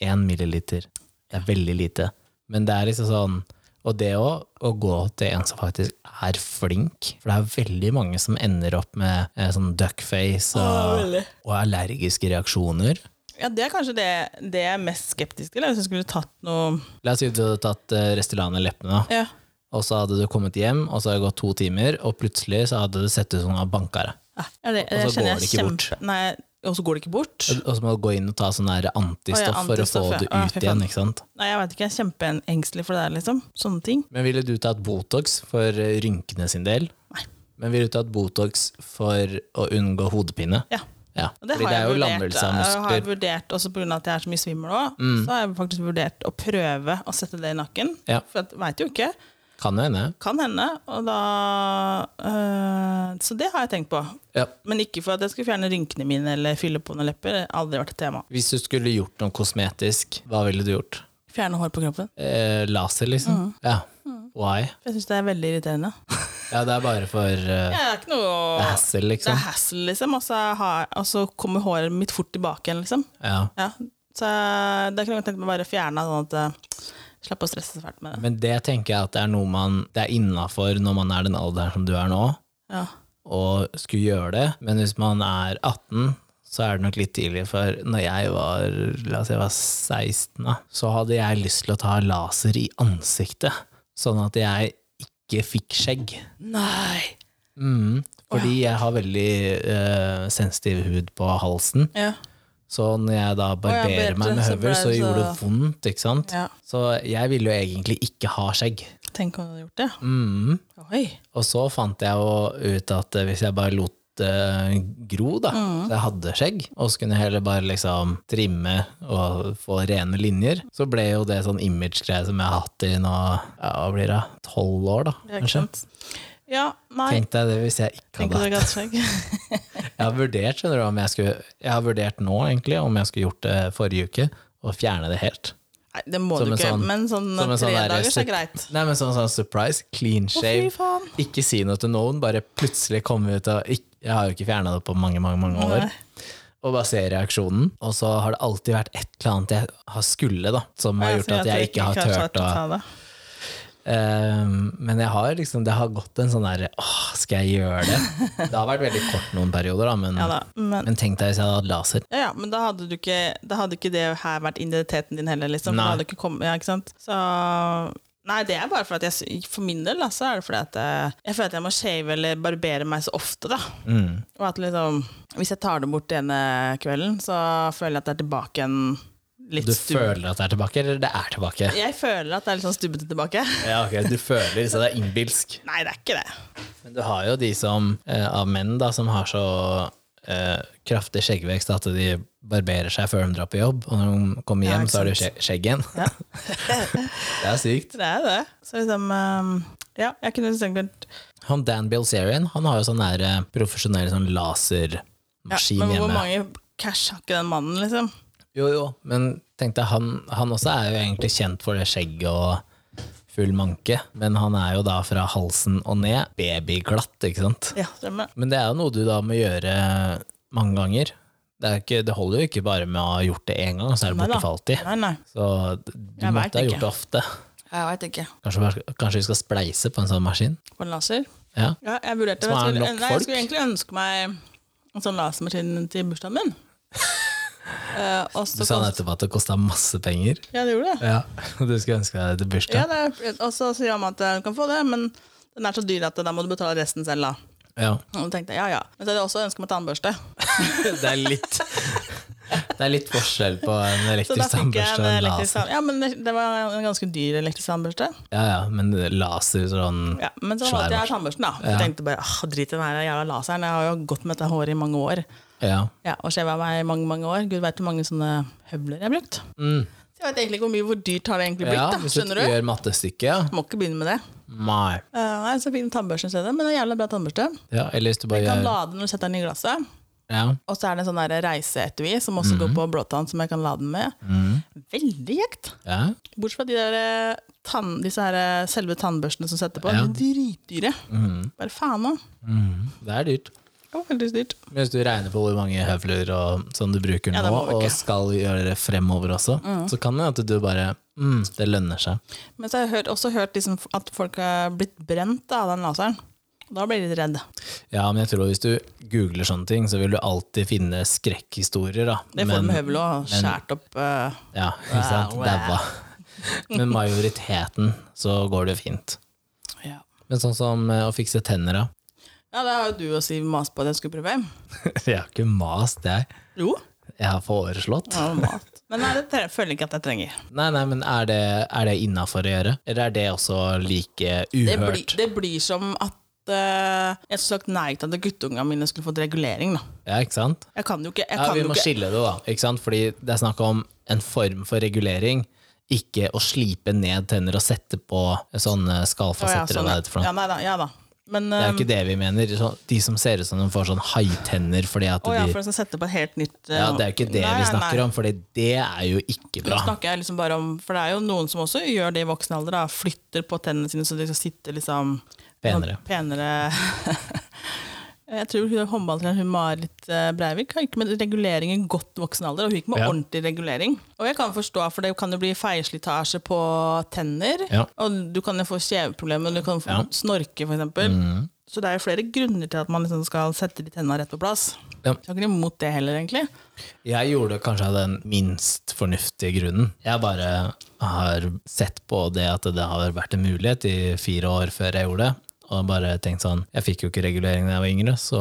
S1: en milliliter. Det er veldig lite. Men det er liksom sånn Og det å, å gå til en som faktisk er flink, for det er veldig mange som ender opp med eh, sånn duckface
S2: Ja,
S1: og,
S2: veldig.
S1: og allergiske reaksjoner.
S2: Ja, det er kanskje det, det jeg er mest skeptisk til. Hvis jeg skulle tatt noe
S1: La oss si at du hadde tatt eh, Restylane i leppene, da.
S2: Ja.
S1: og så hadde du kommet hjem, og så hadde det gått to timer, og plutselig så hadde det sett ut som du hadde banka deg.
S2: Ja, det,
S1: Og så går det
S2: jeg kjenner jeg
S1: ikke bort.
S2: kjempe- Nei, og så går det ikke bort.
S1: Og så må du gå inn og ta sånn der antistoff,
S2: Å ja,
S1: for
S2: antistoff,
S1: å
S2: ja.
S1: få det
S2: Å ja,
S1: ut
S2: fy faen.
S1: igjen. ikke sant?
S2: Nei, jeg vet ikke, jeg er kjempeengstelig for det der, liksom. Sånne ting.
S1: Men ville du tatt Botox for eh, rynkene sin del?
S2: Nei.
S1: Men ville du tatt Botox for å unngå hodepine?
S2: Ja.
S1: Ja,
S2: Og det
S1: fordi
S2: har
S1: det er
S2: jeg
S1: jo
S2: vurdert,
S1: lammelse av
S2: eh, har jeg
S1: muskler. Mm.
S2: vurdert også pga. at jeg er så mye svimmel òg. Så har jeg faktisk vurdert å prøve å sette det i nakken.
S1: Ja.
S2: For jeg veit jo ikke.
S1: Kan jo hende.
S2: Kan hende. Og da eh, Så det har jeg tenkt på.
S1: Ja.
S2: Men ikke for at jeg skulle fjerne rynkene mine eller fylle på noen lepper. Det har aldri vært et tema.
S1: Hvis du skulle gjort noe kosmetisk, hva ville du gjort?
S2: Fjerne hår på kroppen.
S1: Eh, laser,
S2: Mm.
S1: liksom? Ja. Why?
S2: For jeg syns det er veldig irriterende.
S1: Ja, det er bare for eh,
S2: Jeg er ikke noe
S1: hassle,
S2: Det er
S1: liksom.
S2: hassle, liksom. Og så har- og så kommer håret mitt fort tilbake igjen, liksom.
S1: Ja.
S2: Ja, så da kunne jeg tenkt meg bare å fjerne sånn at eh, Slapp å stresse så fælt med det.
S1: Men det tenker jeg at det er noe man Det er innafor når man er den alderen som du er nå,
S2: Ja.
S1: og skulle gjøre det. Men hvis man er 18, så er det nok litt tidlig, for når jeg var la oss si jeg var 16, da, så hadde jeg lyst til å ta laser i ansiktet, sånn at jeg ikke fikk skjegg.
S2: Nei!
S1: Mm, fordi jeg har veldig eh, sensitiv hud på halsen.
S2: Ja.
S1: Så når jeg da barberer
S2: barberte,
S1: meg med
S2: så ble
S1: høvel,
S2: det
S1: så
S2: så-
S1: gjorde det vondt. ikke sant?
S2: ja.
S1: Så jeg ville jo egentlig ikke ha skjegg.
S2: Tenk om du hadde gjort det.
S1: Mm.
S2: Oi.
S1: Og så fant jeg jo ut at hvis jeg bare lot det gro, da,
S2: Mm.
S1: så jeg hadde skjegg, og så kunne jeg heller bare liksom trimme og få rene linjer, så ble jo det sånn image-greie som jeg har hatt i nå, ja, hva blir det, tolv år, da,
S2: Ja, ikke
S1: kanskje.
S2: sant. Ja, nei.
S1: Tenk deg det hvis jeg ikke
S2: Tenk
S1: hadde
S2: at du
S1: hatt
S2: hadde skjegg.
S1: Jeg har vurdert, skjønner du, om jeg skulle Jeg har vurdert nå, egentlig, om jeg skulle gjort det forrige uke, og fjerne det helt.
S2: Nei, det må
S1: Som
S2: du
S1: en
S2: ikke,
S1: sånn-
S2: men sånn
S1: som en sånn
S2: tre
S1: der
S2: dager så
S1: sup-
S2: er greit.
S1: Nei, men sånn, sånn surprise, clean
S2: Å,
S1: shave.
S2: fy faen.
S1: Ikke si noe til noen, bare plutselig komme ut av ikk- Jeg har jo ikke fjerna det på mange, mange mange år.
S2: Nei.
S1: Og bare se reaksjonen. Og så har det alltid vært et eller annet jeg har skulle, da, som har
S2: Ja,
S1: gjort
S2: så
S1: at jeg ikke har turt å
S2: ta det.
S1: Ehm, Men jeg har liksom, det har gått en sånn derre Åh, skal jeg gjøre det? Det har vært veldig kort noen perioder, da, men,
S2: Ja da. Men,
S1: men tenk deg hvis jeg hadde hatt laser.
S2: ja, ja, men da hadde du ikke Da hadde ikke det her vært identiteten din heller, liksom. for
S1: Nei.
S2: Da hadde du ikke kommet, ja, ikke sant? Så Nei, det er bare for at jeg sy- For min del, da, så er det fordi at eh, jeg føler at jeg må shave eller barbere meg så ofte, da.
S1: Mm.
S2: Og at liksom Hvis jeg tar det bort den ene kvelden, så føler jeg at det er tilbake en litt
S1: Du
S2: stub-
S1: føler at det er tilbake, eller det er tilbake?
S2: Jeg føler at det er litt sånn stubbete tilbake.
S1: Ja, ok, Du føler så det er innbilsk.
S2: Nei, det er ikke det.
S1: Men du har jo de som, eh, av menn da, som har så eh, kraftig skjeggvekst at de barberer seg før de drar på jobb, og når de kommer
S2: Ja,
S1: hjem,
S2: ikke
S1: så har de skje- skjegg igjen. det er sykt.
S2: Det er det. Så liksom ehm, Ja, jeg kunne liksom sikkert
S1: Han Dan Bilzerian han har jo sånn der, eh, profesjonell sånn
S2: ja,
S1: lasermaskin
S2: Men hvor
S1: hjemme.
S2: mange cash har ikke den mannen, liksom?
S1: Jo, jo, men tenkte jeg, han, han også er jo egentlig kjent for det skjegget og full manke, men han er jo da fra halsen og ned babyglatt, ikke sant?
S2: Ja, stemmer.
S1: Men det er jo noe du da må gjøre mange ganger. Det, er jo ikke, det holder jo ikke bare med å ha gjort det én gang, så er det
S2: Nei da.
S1: borte for alltid.
S2: Nei, nei.
S1: Så du
S2: Jeg vet
S1: måtte ha
S2: ikke.
S1: gjort det ofte.
S2: Jeg veit ikke.
S1: Kanskje, bare- kanskje vi skal spleise på en sånn maskin?
S2: På en laser?
S1: Ja.
S2: Ja, jeg vurderte
S1: Som er en
S2: jeg skulle,
S1: lokk
S2: nei,
S1: folk.
S2: jeg skulle egentlig ønske meg en sånn lasermaskin til bursdagen min. Eh, og
S1: Du
S2: så
S1: sa
S2: kost-
S1: nettopp at det kosta masse penger.
S2: Ja, det gjorde det.
S1: Ja. Du skulle ønske deg det til
S2: Ja,
S1: bursdag.
S2: det er, og så sier han at eh, du kan få det, men den er så dyr at eh, da må du betale resten selv, da.
S1: Ja.
S2: Og da tenkte jeg, ja, ja. Men så hadde jeg også ønsket meg tannbørste.
S1: Det er litt Det er litt forskjell på en
S2: Så da
S1: elektrisk
S2: fikk jeg
S1: tannbørste
S2: en
S1: og en
S2: elektrisk
S1: laser.
S2: tannbørste. Ja, men det- det var en ganske dyr elektrisk tannbørste.
S1: Ja, ja, men laser sånn
S2: Ja, men så
S1: Svær
S2: valgte jeg tannbørsten, da. Jeg tenkte bare, ah, drit i den her jævla laseren, jeg har jo gått med dette håret i mange år.
S1: Ja.
S2: Ja, og skjeva meg i mange, mange år. Gud vet hvor mange sånne høvler jeg har brukt.
S1: Mm.
S2: Så jeg vet egentlig ikke hvor mye, hvor dyrt har det egentlig blitt,
S1: ja
S2: da.
S1: hvis du
S2: Skjønner du?
S1: gjør mattestykket, ja.
S2: Må ikke begynne med det.
S1: Nei.
S2: Eh, nei, så fin tannbørste i stedet, men en jævla bra tannbørste.
S1: Ja, eller hvis du bare
S2: Du kan
S1: gjør
S2: lade den når du setter den i glasset.
S1: ja.
S2: Og så er det en sånn der reiseetui som også
S1: Mhm.
S2: går på blåtann, som jeg kan lade den med. Veldig kjekt!
S1: ja.
S2: Bortsett fra de der eh, tann, disse her, eh, selve tannbørstene som setter på.
S1: Ja. Mhm.
S2: De er Dritdyre. Bare faen òg.
S1: Mm. Det er dyrt.
S2: Det var veldig dyrt.
S1: Men Hvis du regner på hvor mange høvler og, som du bruker
S2: Ja, det
S1: nå,
S2: må vi
S1: og
S2: ikke. Mm.
S1: skal gjøre det fremover også, så kan det at du bare Mm, det lønner seg.
S2: Men så har jeg hørt, også hørt liksom at folk har blitt brent av den laseren. Og Da blir jeg litt redd.
S1: Ja, men jeg tror hvis du googler sånne ting, så vil du alltid finne skrekkhistorier, da.
S2: Det får
S1: men,
S2: de med høvel og skjært opp eh,
S1: ja, ikke sant?
S2: Wow, wow.
S1: Daua. Men majoriteten så går det fint.
S2: ja.
S1: Men sånn som eh, å fikse tenner, da.
S2: ja, det har jo du og Siv mast på at jeg skulle prøve.
S1: Jeg har ikke mast, jeg.
S2: Jo.
S1: Jeg har foreslått.
S2: Ja, mat. Men nei, det tre- føler jeg ikke at jeg trenger.
S1: Nei, nei, men er det, er det innafor å gjøre? Eller er det også like
S2: Det blir,
S1: uhørt?
S2: det blir som at eh, jeg skulle sagt nei til at guttungene mine skulle fått regulering. Da.
S1: Ja, ikke sant?
S2: Jeg kan jo ikke. Jeg
S1: Ja,
S2: kan
S1: vi
S2: jo
S1: må
S2: ikke.
S1: skille det, da. Ikke sant? Fordi det er snakk om en form for regulering. Ikke å slipe ned tenner og sette på sånne
S2: Å, ja,
S1: skallfasetter.
S2: sånn,
S1: eller hva det heter for noe.
S2: ja, nei, da, ja da. Men
S1: Det er
S2: eh,
S1: jo ikke det vi mener. Sånn- De som ser ut som de får sånn haitenner fordi at
S2: å, ja,
S1: de
S2: for jeg skal sette på et helt nytt eh,
S1: ja, Det er jo ikke det
S2: nei,
S1: vi
S2: nei,
S1: snakker
S2: nei.
S1: om, Fordi det er jo ikke
S2: Nå
S1: bra.
S2: snakker jeg liksom bare om, for det er jo noen som også gjør det i voksen alder, da. flytter på tennene sine så de skal sitte liksom
S1: Penere.
S2: penere. Jeg tror hun håndballtreneren hun Marit eh, Breivik har ikke med regulering i godt voksen alder. Og hun gikk med
S1: Ja.
S2: ordentlig regulering. Og jeg kan forstå, for det kan jo bli feilslitasje på tenner.
S1: Ja.
S2: Og du kan jo få kjeveproblemer, du kan få
S1: Ja. Mm.
S2: snorke f.eks. eksempel Så det er jo flere grunner til at man liksom skal sette de tennene rett på plass.
S1: Ja.
S2: Så jeg er ikke imot det heller, egentlig.
S1: Jeg gjorde det kanskje av den minst fornuftige grunnen. Jeg bare har sett på det at det har vært en mulighet i fire år før jeg gjorde det, og bare tenkt sånn Jeg fikk jo ikke regulering da jeg var yngre, så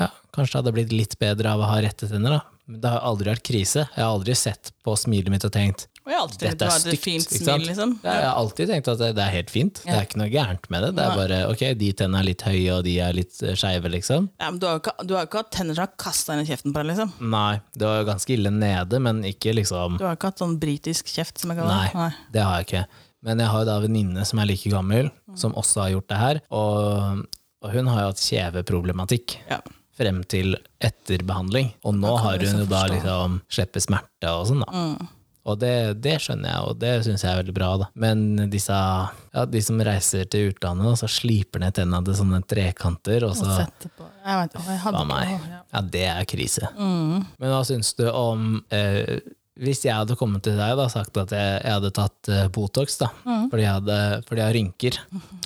S1: ja, kanskje det hadde blitt litt bedre av å ha rette tenner, da. Men det har aldri vært krise. Jeg har aldri sett på smilet mitt og tenkt
S2: Og jeg har alltid tenkt
S1: dette
S2: å
S1: er
S2: ha et
S1: stygt.
S2: fint
S1: ikke
S2: smil,
S1: sant?
S2: liksom.
S1: Jeg har alltid tenkt at det, det er helt fint. Det
S2: Ja.
S1: er ikke noe gærent med det. Det er bare ok, de tennene er litt høye, og de er litt eh, skeive, liksom.
S2: Ja, men du har jo ikke, du har jo ikke hatt tenner som har kasta inn i kjeften på deg, liksom.
S1: Nei, det var jo ganske ille nede, men ikke liksom
S2: Du har jo ikke hatt sånn britisk kjeft, som jeg kaller
S1: Nei,
S2: det. Nei.
S1: det har jeg ikke. Men jeg har jo da en venninne som er like gammel,
S2: Mm.
S1: som også har gjort det her. Og, og hun har jo hatt kjeveproblematikk
S2: Ja.
S1: frem til etter behandling. Og nå
S2: kan
S1: har
S2: jeg
S1: hun jo
S2: liksom
S1: da
S2: forstå. Mm.
S1: liksom sluppet smerte og sånn, da. Og det, det skjønner jeg, og det syns jeg er veldig bra. da. Men disse, ja, de som reiser til utlandet og så sliper ned tenna til sånne trekanter, og
S2: Og
S1: så
S2: sette på. Jeg vet, å, jeg hadde
S1: Faen meg.
S2: ikke- å, ja. Mm.
S1: Ja, det er krise. Men hva syns du om eh, Hvis jeg hadde kommet til deg og sagt at jeg, jeg hadde tatt eh, Botox da,
S2: Mm.
S1: fordi, jeg hadde, fordi jeg har rynker,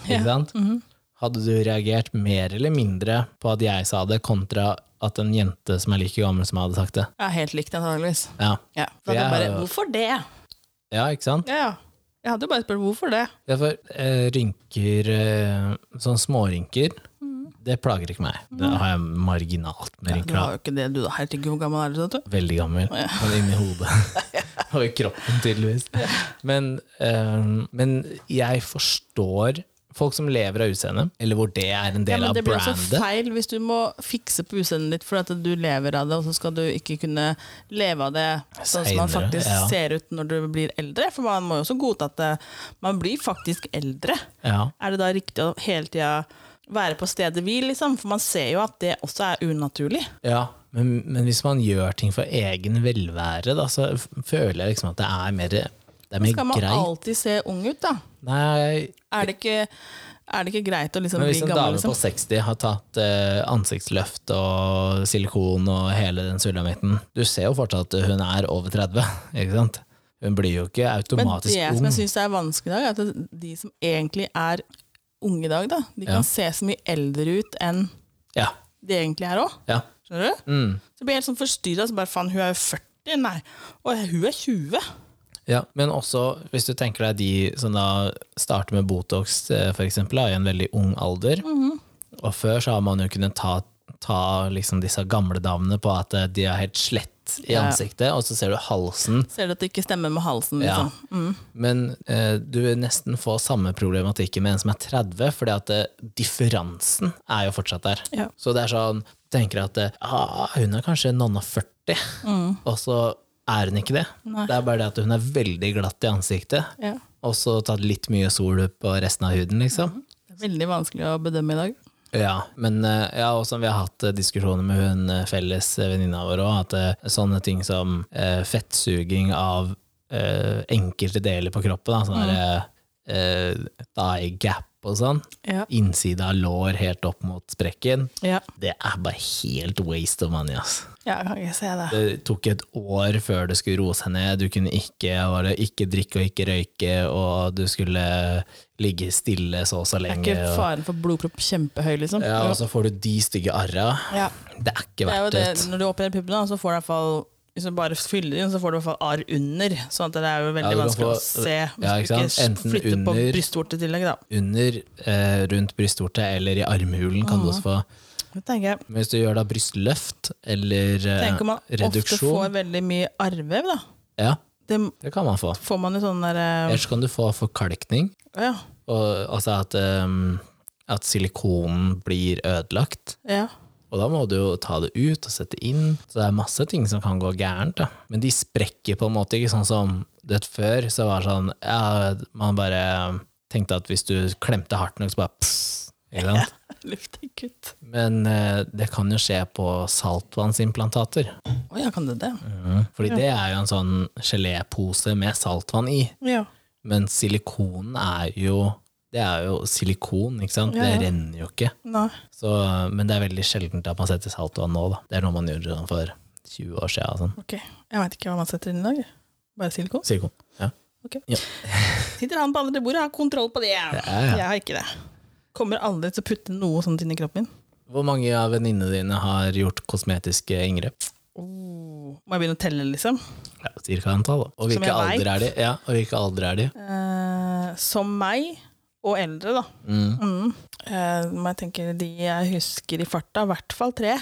S1: ikke sant?
S2: Mm-hmm.
S1: hadde du reagert mer eller mindre på at jeg sa det, kontra at en jente som er like gammel som jeg hadde sagt det?
S2: Ja, helt likt, antakeligvis.
S1: Ja,
S2: Ja.
S1: For
S2: Da hadde jeg
S1: jeg
S2: bare
S1: har jo-
S2: Hvorfor det?
S1: ja ikke sant?
S2: Ja, ja. Jeg hadde jo bare spurt hvorfor det.
S1: Ja, for eh, rynker, eh, sånn smårynker,
S2: Mm.
S1: det plager ikke meg. Det har jeg marginalt med
S2: Du
S1: rynker. da.
S2: har jo ikke det, du da. Herregud, hvor gammel er du? da, du?
S1: Veldig gammel, men inni hodet. Og i kroppen, tydeligvis. Men, eh, men jeg forstår folk som lever av utseendet, eller hvor det er en
S2: Ja,
S1: del
S2: men
S1: av
S2: det blir også
S1: brandet.
S2: feil hvis du må fikse på utseendet ditt fordi at du lever av det, og så skal du ikke kunne leve av det sånn som man
S1: Senere,
S2: faktisk
S1: ja.
S2: ser ut når du blir eldre. For man må jo også godta at eh, man blir faktisk eldre.
S1: Ja.
S2: Er det da riktig å hele tida være på stedet hvil, liksom? For man ser jo at det også er unaturlig.
S1: ja. Men, men hvis man gjør ting for egen velvære, da, så f- føler jeg liksom at det er mer, det er mer
S2: Skal man
S1: greit.
S2: alltid se ung ut, da?
S1: Nei,
S2: Er det ikke, er det ikke greit å liksom
S1: men
S2: bli
S1: hvis en dame
S2: gammel, liksom?
S1: på 60 har tatt eh, ansiktsløft og silikon og hele den sulamitten Du ser jo fortsatt at hun er over 30, ikke sant? Hun blir jo ikke
S2: Men
S1: automatisk
S2: det
S1: ung.
S2: som jeg syns er vanskelig i dag, er at det- de som egentlig er unge i dag, da, de kan
S1: Ja.
S2: se så mye eldre ut enn
S1: Ja,
S2: de egentlig er òg.
S1: ja.
S2: Skjønner du?
S1: Mm.
S2: Så blir jeg helt sånn forstyrra. Så bare faen, hun er jo 40, nei. Og hun er 20.
S1: Ja, men også hvis du tenker deg de som da starter med Botox eh, for eksempel, da, i en veldig ung alder.
S2: Mhm.
S1: Og før så har man jo kunnet ta, ta liksom disse gamle damene på at eh, de er helt slett i
S2: Ja.
S1: ansiktet, og så ser du halsen.
S2: Ser du at det ikke stemmer med halsen?
S1: Ja.
S2: Liksom.
S1: Men eh, du vil nesten få samme problematikken med en som er 30, fordi at eh, differansen er jo fortsatt der.
S2: Ja.
S1: Så det er sånn, tenker at eh, ah, hun er kanskje nonna 40, og så er hun ikke det.
S2: Nei.
S1: Det er bare det at hun er veldig glatt i ansiktet,
S2: Ja.
S1: og så tatt litt mye sol på resten av huden, liksom.
S2: Det er veldig vanskelig å bedømme i dag.
S1: Ja, men eh, ja, og som vi har hatt eh, diskusjoner med hun eh, felles eh, venninna vår òg, at eh, sånne ting som eh, fettsuging
S3: Mm.
S1: av eh, enkelte deler på kroppen, da, sånn der eh, eh, thigh gap og sånn.
S3: Ja.
S1: Innside av lår helt opp mot sprekken.
S3: Ja.
S1: Det er bare helt waste of money, ass.
S3: ja, kan ikke se det.
S1: Det tok et år før det skulle roe seg ned. Du kunne ikke, var det ikke drikke og ikke røyke, og du skulle ligge stille så og så
S3: Er
S1: lenge.
S3: ikke
S1: og-
S3: faren for blodpropp kjempehøy, liksom?
S1: Ja, altså. og så får du de stygge arra.
S3: Ja.
S1: Det er ikke
S2: Det er jo
S1: verdt
S2: det,
S1: det.
S2: når du opererer puppene, da, så får du i hvert fall hvis du bare fyller inn, så får du i hvert fall arr under. sånn at det er jo veldig
S1: Ja, du kan
S2: vanskelig
S1: få-
S2: å se hvis
S1: ja, ikke
S2: du ikke
S1: sant? Enten
S2: flytter på
S1: under-
S2: brystvorte i tillegg. da.
S1: Under, eh, rundt brystvorte eller i armhulen kan du også få.
S3: Det tenker jeg.
S1: Men Hvis du gjør da brystløft eller eh,
S2: Tenk om man ofte
S1: reduksjon
S2: får veldig mye arrvev, da.
S1: Ja,
S2: Det
S1: det kan man få.
S2: får man jo sånn der eh,
S1: Ellers kan du få forkalkning,
S2: Ja.
S1: og, altså at, eh, at silikonen blir ødelagt.
S2: ja.
S1: Og da må du jo ta det ut og sette inn. Så det er masse ting som kan gå gærent. Da. Men de sprekker på en måte ikke sånn som det før. Så var det sånn ja, Man bare eh, tenkte at hvis du klemte hardt nok, så bare pss, ikke sant?
S2: Luft gikk ut.
S1: Men eh, det kan jo skje på saltvannsimplantater.
S2: Å ja, kan det det?
S1: Fordi det er jo en sånn gelépose med saltvann i.
S2: Ja.
S1: Men silikonen er jo Det er jo silikon, ikke sant?
S2: Ja, ja.
S1: Det renner jo ikke.
S2: Nei.
S1: Så, men det er veldig sjeldent at man setter saltvann nå, da. Det er noe man gjorde sånn for 20 år siden. Sånn.
S2: Ok. Jeg veit ikke hva man setter inn i dag. jeg. Bare silikon?
S1: Silikon. Ja.
S2: Sitter han på andre bordet og har kontroll på det?
S1: Ja, ja.
S2: Jeg har ikke det. Kommer aldri til å putte noe sånt inn i kroppen min.
S1: Hvor mange av venninnene dine har gjort kosmetiske inngrep?
S2: Oh. Må jeg begynne å telle, liksom?
S1: Ja, cirka antall. da. Og
S2: Som
S1: hvilke
S2: jeg vet.
S1: alder er de? Ja, og hvilke alder er de?
S2: Eh, som meg, og eldre, da.
S1: Mm.
S2: Mm. Eh, men jeg tenker de jeg husker i farta, i hvert fall tre.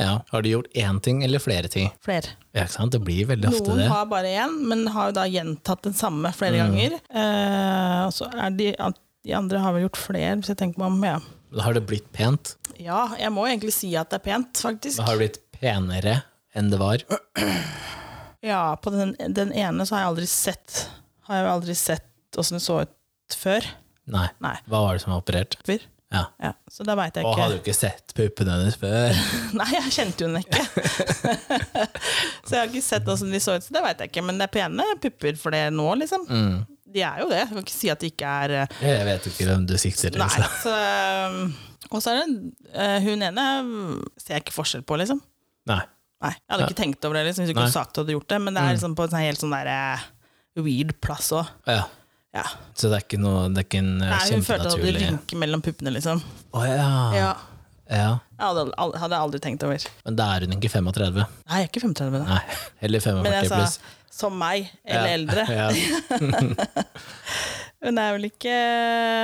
S1: Ja. Har de gjort én ting eller flere ting?
S2: Flere.
S1: Ja, ikke sant? Det blir veldig ofte
S2: Noen
S1: det. Mm.
S2: har bare én, men har jo da gjentatt den samme flere ganger. Eh, og så er de, an- de andre har vel gjort flere, hvis jeg tenker meg om. Ja.
S1: Da har det blitt pent.
S2: ja, jeg må egentlig si at det er pent, faktisk.
S1: Da har det blitt penere enn det var.
S2: Ja, på den, den ene så har jeg aldri sett Har jeg jo aldri sett åssen det så ut før.
S1: Nei.
S2: Nei.
S1: Hva var det som var operert?
S2: Før.
S1: Ja.
S2: Ja, så da veit jeg
S1: Og
S2: ikke.
S1: hadde du ikke sett puppene hennes før?
S2: Nei, jeg kjente jo den ikke. så jeg har ikke sett åssen de så ut, så det veit jeg ikke. Men det er pene pupper for det nå, liksom. De er jo det. Jeg kan ikke si at de ikke er eh,
S1: Mm. Jeg vet ikke hvem du sikter til.
S2: Nei.
S1: så.
S2: Så, eh, og så er det eh, Hun ene eh, ser jeg ikke forskjell på, liksom.
S1: Nei.
S2: Nei, Jeg hadde ikke tenkt over det liksom, hvis du
S1: Nei. Mm.
S2: ikke hadde sagt at du hadde gjort det, men det er liksom på en sånn helt sånn der eh, weird plass òg.
S1: Ja.
S2: Ja.
S1: Så det er ikke noe Det er ikke en eh,
S2: Nei, Hun følte at det
S1: kjempenaturlig
S2: rynker mellom puppene, liksom.
S1: Å ja.
S2: Ja.
S1: ja.
S2: Jeg hadde, al- hadde jeg aldri tenkt over.
S1: Men da er hun ikke 35.
S2: Nei, jeg er ikke 35 da.
S1: Nei. Eller
S2: Men
S1: 45
S2: jeg sa
S1: pluss.
S2: som meg, eller
S1: Ja.
S2: eldre.
S1: Ja.
S2: Hun er vel ikke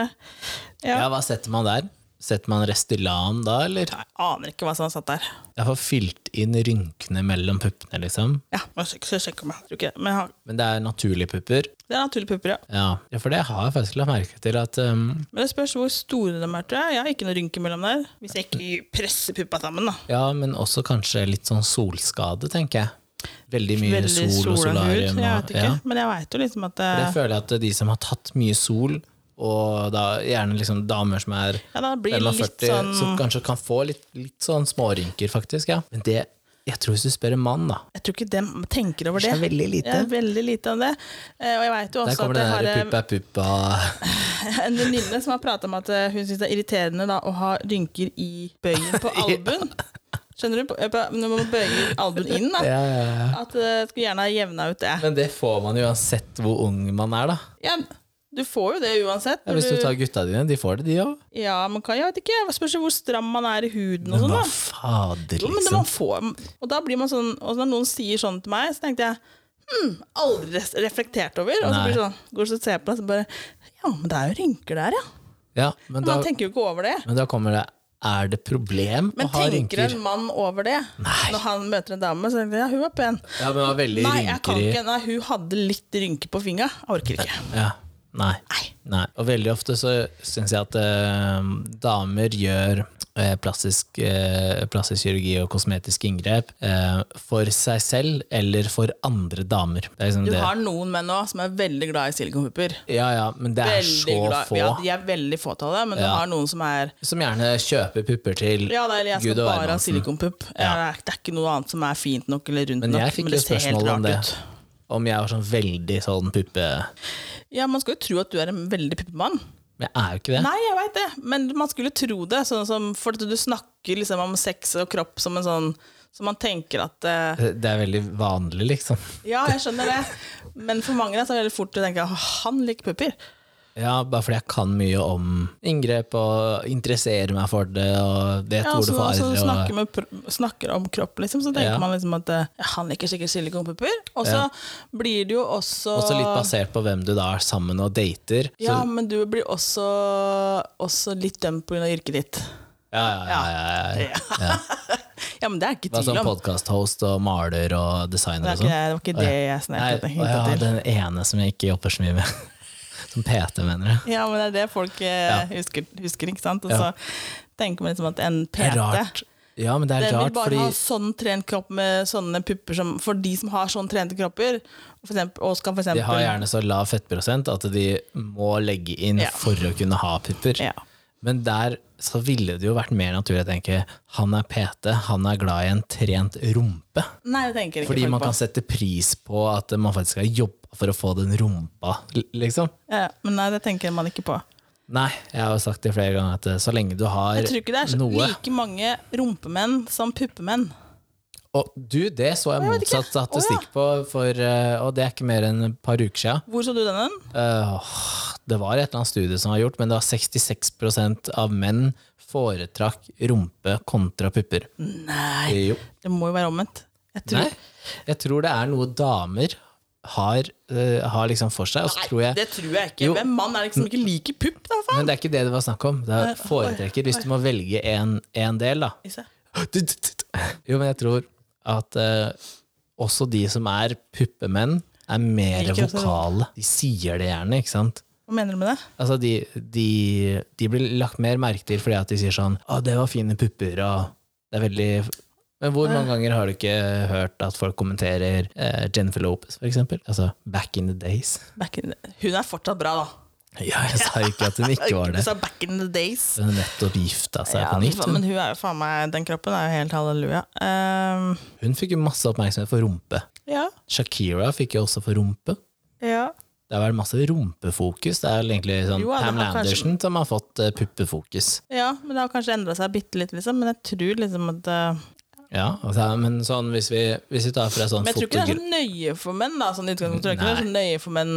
S1: ja,
S2: Ja.
S1: hva setter man der? Setter man Restylan da, eller?
S2: Jeg aner ikke hva som satt der.
S1: Jeg får fylt inn rynkene mellom puppene, liksom.
S2: Ja, må jeg sjekke- skal jeg sjekke om jeg tror ikke det. Men jeg har-
S1: Men det er naturlige pupper.
S2: det er naturlige pupper, ja.
S1: Ja. ja, for det har jeg faktisk lagt merke til at um,
S2: Men det spørs hvor store de er, tror jeg. Jeg har ikke noen rynker mellom der. Hvis jeg ikke presser puppa sammen, da.
S1: Ja, men også kanskje litt sånn solskade, tenker jeg. Veldig mye
S2: Veldig
S1: sol og
S2: sola hud. Jeg
S1: solarium.
S2: vet
S1: Og,
S2: ikke.
S1: ja.
S2: Men jeg veit jo liksom at
S1: For
S2: det,
S1: jeg føler at de som har tatt mye sol, og da, gjerne liksom damer som er
S2: ja, da blir det
S1: 45,
S2: litt sånn
S1: som kanskje kan få litt, litt sånn smårynker, faktisk. ja. Men det, jeg tror hvis du spør en mann, da
S2: Jeg tror ikke de tenker over det.
S1: Det er veldig lite.
S2: Ja, veldig lite om det. Eh, Og jeg vet jo
S1: Der
S2: også
S1: kommer
S2: at jeg
S1: den
S2: har
S1: der
S2: eh,
S1: puppa puppa
S2: en venninne som har prata om at eh, hun syns det er irriterende da, å ha rynker i bøyen på albuen. Skjønner du? På- på- Når man bøyer albuen inn, da.
S1: ja, ja, ja.
S2: At eh, skulle gjerne ha jevna ut det.
S1: Men det får man jo uansett hvor ung man er, da.
S2: Ja, du får jo det uansett.
S1: Ja,
S2: når
S1: hvis du
S2: du-
S1: tar gutta dine, de får det, de òg.
S2: ja, man kan, jeg vet ikke, jeg spørs jo hvor stram man er i huden
S1: Men
S2: og sånn.
S1: hva
S2: da.
S1: fader,
S2: Jo, men det
S1: liksom.
S2: man får, og da blir man sånn, og når noen sier sånn til meg, så tenkte jeg hm, aldri res- reflektert over. Og så
S1: Nei.
S2: blir det sånn, går du og ser på det, så bare Ja, men det er jo rynker der, ja.
S1: Ja, men,
S2: Men
S1: da,
S2: man tenker jo ikke over det.
S1: men da kommer det Er det problem
S2: Men
S1: å ha
S2: tenker
S1: rynker?
S2: en mann over det
S1: Nei.
S2: når han møter en dame? Så tenker jeg, ja, hun var pen.
S1: Ja, men det var veldig
S2: Nei, jeg
S1: rynker
S2: kan
S1: i
S2: ikke. Nei, hun hadde litt rynker på fingra. Jeg Orker ikke.
S1: Ja. Nei.
S2: Nei.
S1: Nei. Og veldig ofte så syns jeg at eh, damer gjør eh, plastisk, eh, plastisk kirurgi og kosmetiske inngrep eh, for seg selv eller for andre damer. Det er liksom
S2: Du
S1: det.
S2: har noen menn òg som er veldig glad i silikonpupper.
S1: Ja, ja, men det er
S2: Veldig
S1: så
S2: glad.
S1: få
S2: Ja, de er veldig få av det, men du
S1: Ja.
S2: har noen som er
S1: som gjerne kjøper pupper til
S2: Ja, da, eller jeg skal
S1: Gud og
S2: bare ha
S1: hvermannsen.
S2: silikonpupp.
S1: Ja.
S2: Eller, Det er ikke noe annet som er fint nok eller rundt
S1: Men
S2: nok.
S1: jeg fikk jo spørsmål om det. Om jeg var sånn veldig sånn puppe...
S2: Ja, man skal jo tro at du er en veldig puppemann.
S1: Men jeg er jo ikke det.
S2: Nei, jeg veit det, men man skulle tro det. Sånn som, for at du snakker liksom om sex og kropp som en sånn Så man tenker at eh,
S1: Det er veldig vanlig, liksom.
S2: Ja, jeg skjønner det, men for mange da, så er det veldig fort å tenke at han liker pupper.
S1: Ja, bare fordi jeg kan mye om inngrep og interesserer meg for det og vet
S2: Ja,
S1: hvor
S2: så,
S1: det farer.
S2: så
S1: og-
S2: snakker, med, pr- snakker om kropp, liksom, så tenker
S1: Ja.
S2: man liksom at eh, ja, han liker sikkert silikonpupper. Og så
S1: Ja.
S2: blir det jo også
S1: Også litt basert på hvem du da er sammen med og dater. Så,
S2: Ja, men du blir også, også litt dømt pga. yrket ditt.
S1: ja, ja, ja, ja, ja.
S2: Ja, men det er ikke
S1: Var
S2: tvil
S1: sånn
S2: om.
S1: podkast-host og maler og
S2: Det
S1: designer
S2: er
S1: og
S2: ikke det,
S1: sånn.
S2: det var ikke det jeg
S1: Nei,
S2: snakket
S1: å ja,
S2: hintet til.
S1: den ene som jeg ikke jobber så mye med. Som PT, mener jeg.
S2: Ja, men det er det folk eh, husker, husker, ikke sant? Og
S1: Ja.
S2: så tenker man liksom at en
S1: Det er
S2: PT
S1: rart. Ja, men det er
S2: den vil
S1: rart,
S2: bare
S1: fordi
S2: ha sånn trent kropp med sånne pupper som, for de som har sånn trente kropper, for eksempel, og skal for
S1: de
S2: eksempel
S1: har gjerne så lav fettprosent at de må legge inn
S2: Ja.
S1: for å kunne ha pupper.
S2: Ja.
S1: Men der så ville det jo vært mer naturlig å tenke han er PT, han er glad i en trent rumpe.
S2: Nei, det tenker ikke
S1: Fordi
S2: folk
S1: man
S2: på.
S1: kan sette pris på at man faktisk har jobba for å få den rumpa, l- liksom.
S2: Ja, men nei, det tenker man ikke på.
S1: Nei, jeg har jo sagt det flere ganger at eh, så lenge du har
S2: Jeg tror ikke det er så
S1: noe
S2: like mange rumpemenn som puppemenn.
S1: Og du, det så jeg
S2: Jeg vet ikke.
S1: motsatt statistikk på, for, eh, og det er ikke mer enn et par uker siden.
S2: Hvor så du denne?
S1: Eh, åh, det var et eller annet studie som var gjort, men det var 66 av menn foretrakk rumpe kontra pupper.
S2: Nei,
S1: Jo.
S2: det må jo være omvendt. Jeg tror,
S1: Nei, jeg tror det er noe damer har, eh, har liksom for seg, og så tror jeg
S2: det tror jeg ikke.
S1: Jo.
S2: Hvem mann er det ikke som ikke liker pupp, da, faen?
S1: Men det er ikke det det var snakk om. Det er foretrekker hvis du må velge en, en del, da. Jo, men jeg tror at eh, også de som er puppemenn, er mer
S2: Liker også det.
S1: vokale. De sier det gjerne, ikke sant?
S2: Hva mener du med det?
S1: Altså, de, de, de blir lagt mer merke til fordi at de sier sånn 'Å, det var fine pupper', og det er veldig Men hvor mange ganger har du ikke hørt at folk kommenterer eh, Jennifer Lopez, for eksempel? Altså, back in the days.
S2: Back in the... Hun er fortsatt bra, da.
S1: Ja, jeg sa ikke at hun ikke var
S2: Du
S1: det.
S2: sa back in the days.
S1: Hun har nettopp gifta seg
S2: Ja,
S1: på nytt.
S2: faen,
S1: hun.
S2: men hun er jo faen meg Den kroppen er jo helt halleluja. Ehm,
S1: Hun fikk jo masse oppmerksomhet for rumpe.
S2: ja,
S1: Shakira fikk jo også for rumpe.
S2: ja.
S1: Det har vært masse rumpefokus. Det er vel egentlig sånn
S2: Jo, ja, det
S1: Pam
S2: har kanskje-
S1: Anderson som har fått eh, puppefokus.
S2: Ja, men det har kanskje endra seg bitte litt, liksom. Men jeg tror liksom at eh,
S1: Ja, altså, men sånn hvis vi, hvis vi tar fra sånn
S2: Men jeg tror ikke det er
S1: fotogra-
S2: så nøye for menn, da. Sånn i utgangspunktet. Jeg tror ikke det er så nøye for menn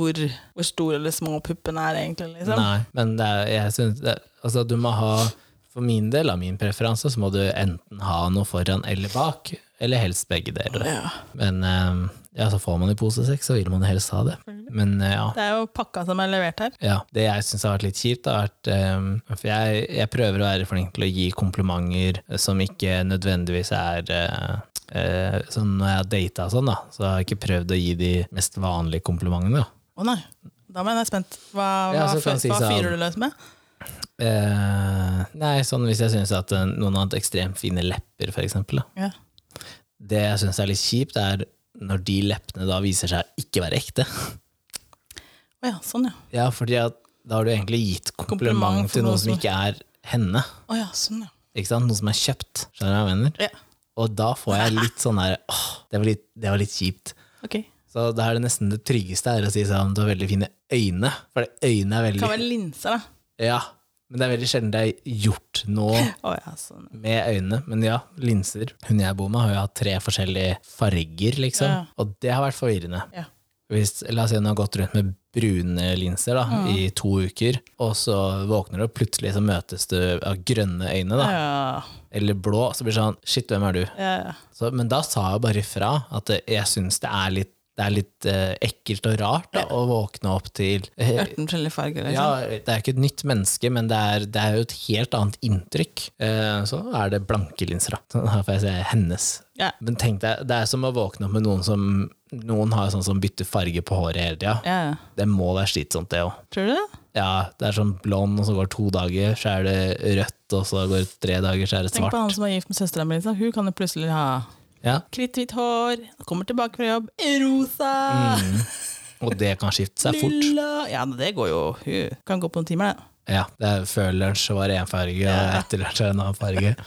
S2: hvor, hvor stor eller små puppen er, egentlig. liksom.
S1: Nei, men det er, jeg synes det, altså, du må ha For min del av min preferanse så må du enten ha noe foran eller bak, eller helst begge deler.
S2: Ja.
S1: Men eh, ja, så får man jo posesex, så vil man helst ha det. Men eh, ja.
S2: Det er jo pakka som er levert her.
S1: Ja, Det jeg syns har vært litt kjipt, har vært eh, For jeg, jeg prøver å være flink til å gi komplimenter som ikke nødvendigvis er eh, eh, Sånn når jeg har data og sånn, da, så har jeg ikke prøvd å gi de mest vanlige komplimentene. da.
S2: Å nei, da ble jeg spent. Hva, hva,
S1: Ja, så kan jeg si
S2: hva
S1: sånn-
S2: fyrer du løs med?
S1: Eh, nei, sånn hvis jeg syns at eh, noen har hatt ekstremt fine lepper, for eksempel. Da.
S2: Ja.
S1: Det jeg syns er litt kjipt, er når de leppene da viser seg ikke være ekte.
S2: Å ja, sånn, ja.
S1: Ja, fordi at da har du egentlig gitt kompliment,
S2: Kompliment for
S1: til
S2: noe
S1: noen som
S2: som-
S1: ikke er henne.
S2: Å ja, sånn, ja.
S1: Ikke sant? Noen som er kjøpt. Skjønner du hva jeg mener?
S2: ja.
S1: Og da får jeg litt sånn der Åh, det var litt, det var litt kjipt.
S2: Ok.
S1: Så da er det nesten det tryggeste er å si sånn Du har veldig fine øyne. For øynene er
S2: Det kan
S1: veldig
S2: være linser, da.
S1: Ja. Men det er veldig sjelden det er gjort noe
S2: Å ja, sånn.
S1: med øynene. Men ja, linser. Hun jeg bor med, har jo hatt tre forskjellige farger, liksom.
S2: Ja.
S1: Og det har vært forvirrende.
S2: Ja.
S1: Hvis, la oss si hun har gått rundt med brune linser da, i to uker, og så våkner du, og plutselig så møtes du av grønne øyne, da,
S2: Ja,
S1: eller blå, så blir det sånn Shit, hvem er du?
S2: ja, ja.
S1: Så, men da sa jeg bare ifra at eh, jeg syns det er litt, det er litt eh, ekkelt og rart da, å våkne opp til eh,
S2: 14 forskjellige farger,
S1: ja,
S2: liksom.
S1: Det er ikke et nytt menneske, men det er, det er jo et helt annet inntrykk. Eh, så er det blanke linser, da. Så Her får jeg se hennes.
S2: Ja.
S1: Men tenk deg, det er som å våkne opp med noen som Noen har sånn som bytter farge på håret hele tida.
S2: Ja, ja.
S1: Det må være slitsomt, det òg.
S2: Tror du det?
S1: Ja, det er sånn blond, og så går det to dager, så er det rødt, og så går det tre dager, så er det
S2: Tenk på han
S1: svart.
S2: som er gift med søstera mi. Liksom. Hun kan jo plutselig ha
S1: Ja,
S2: kritthvitt hår, kommer tilbake fra jobb, rosa,
S1: og Mm, det kan skifte seg fort.
S2: lilla Ja, men det går jo. Hun kan gå på noen timer, det.
S1: Ja, det er før lunsj var det én farge, og etter lunsj er det en annen farge.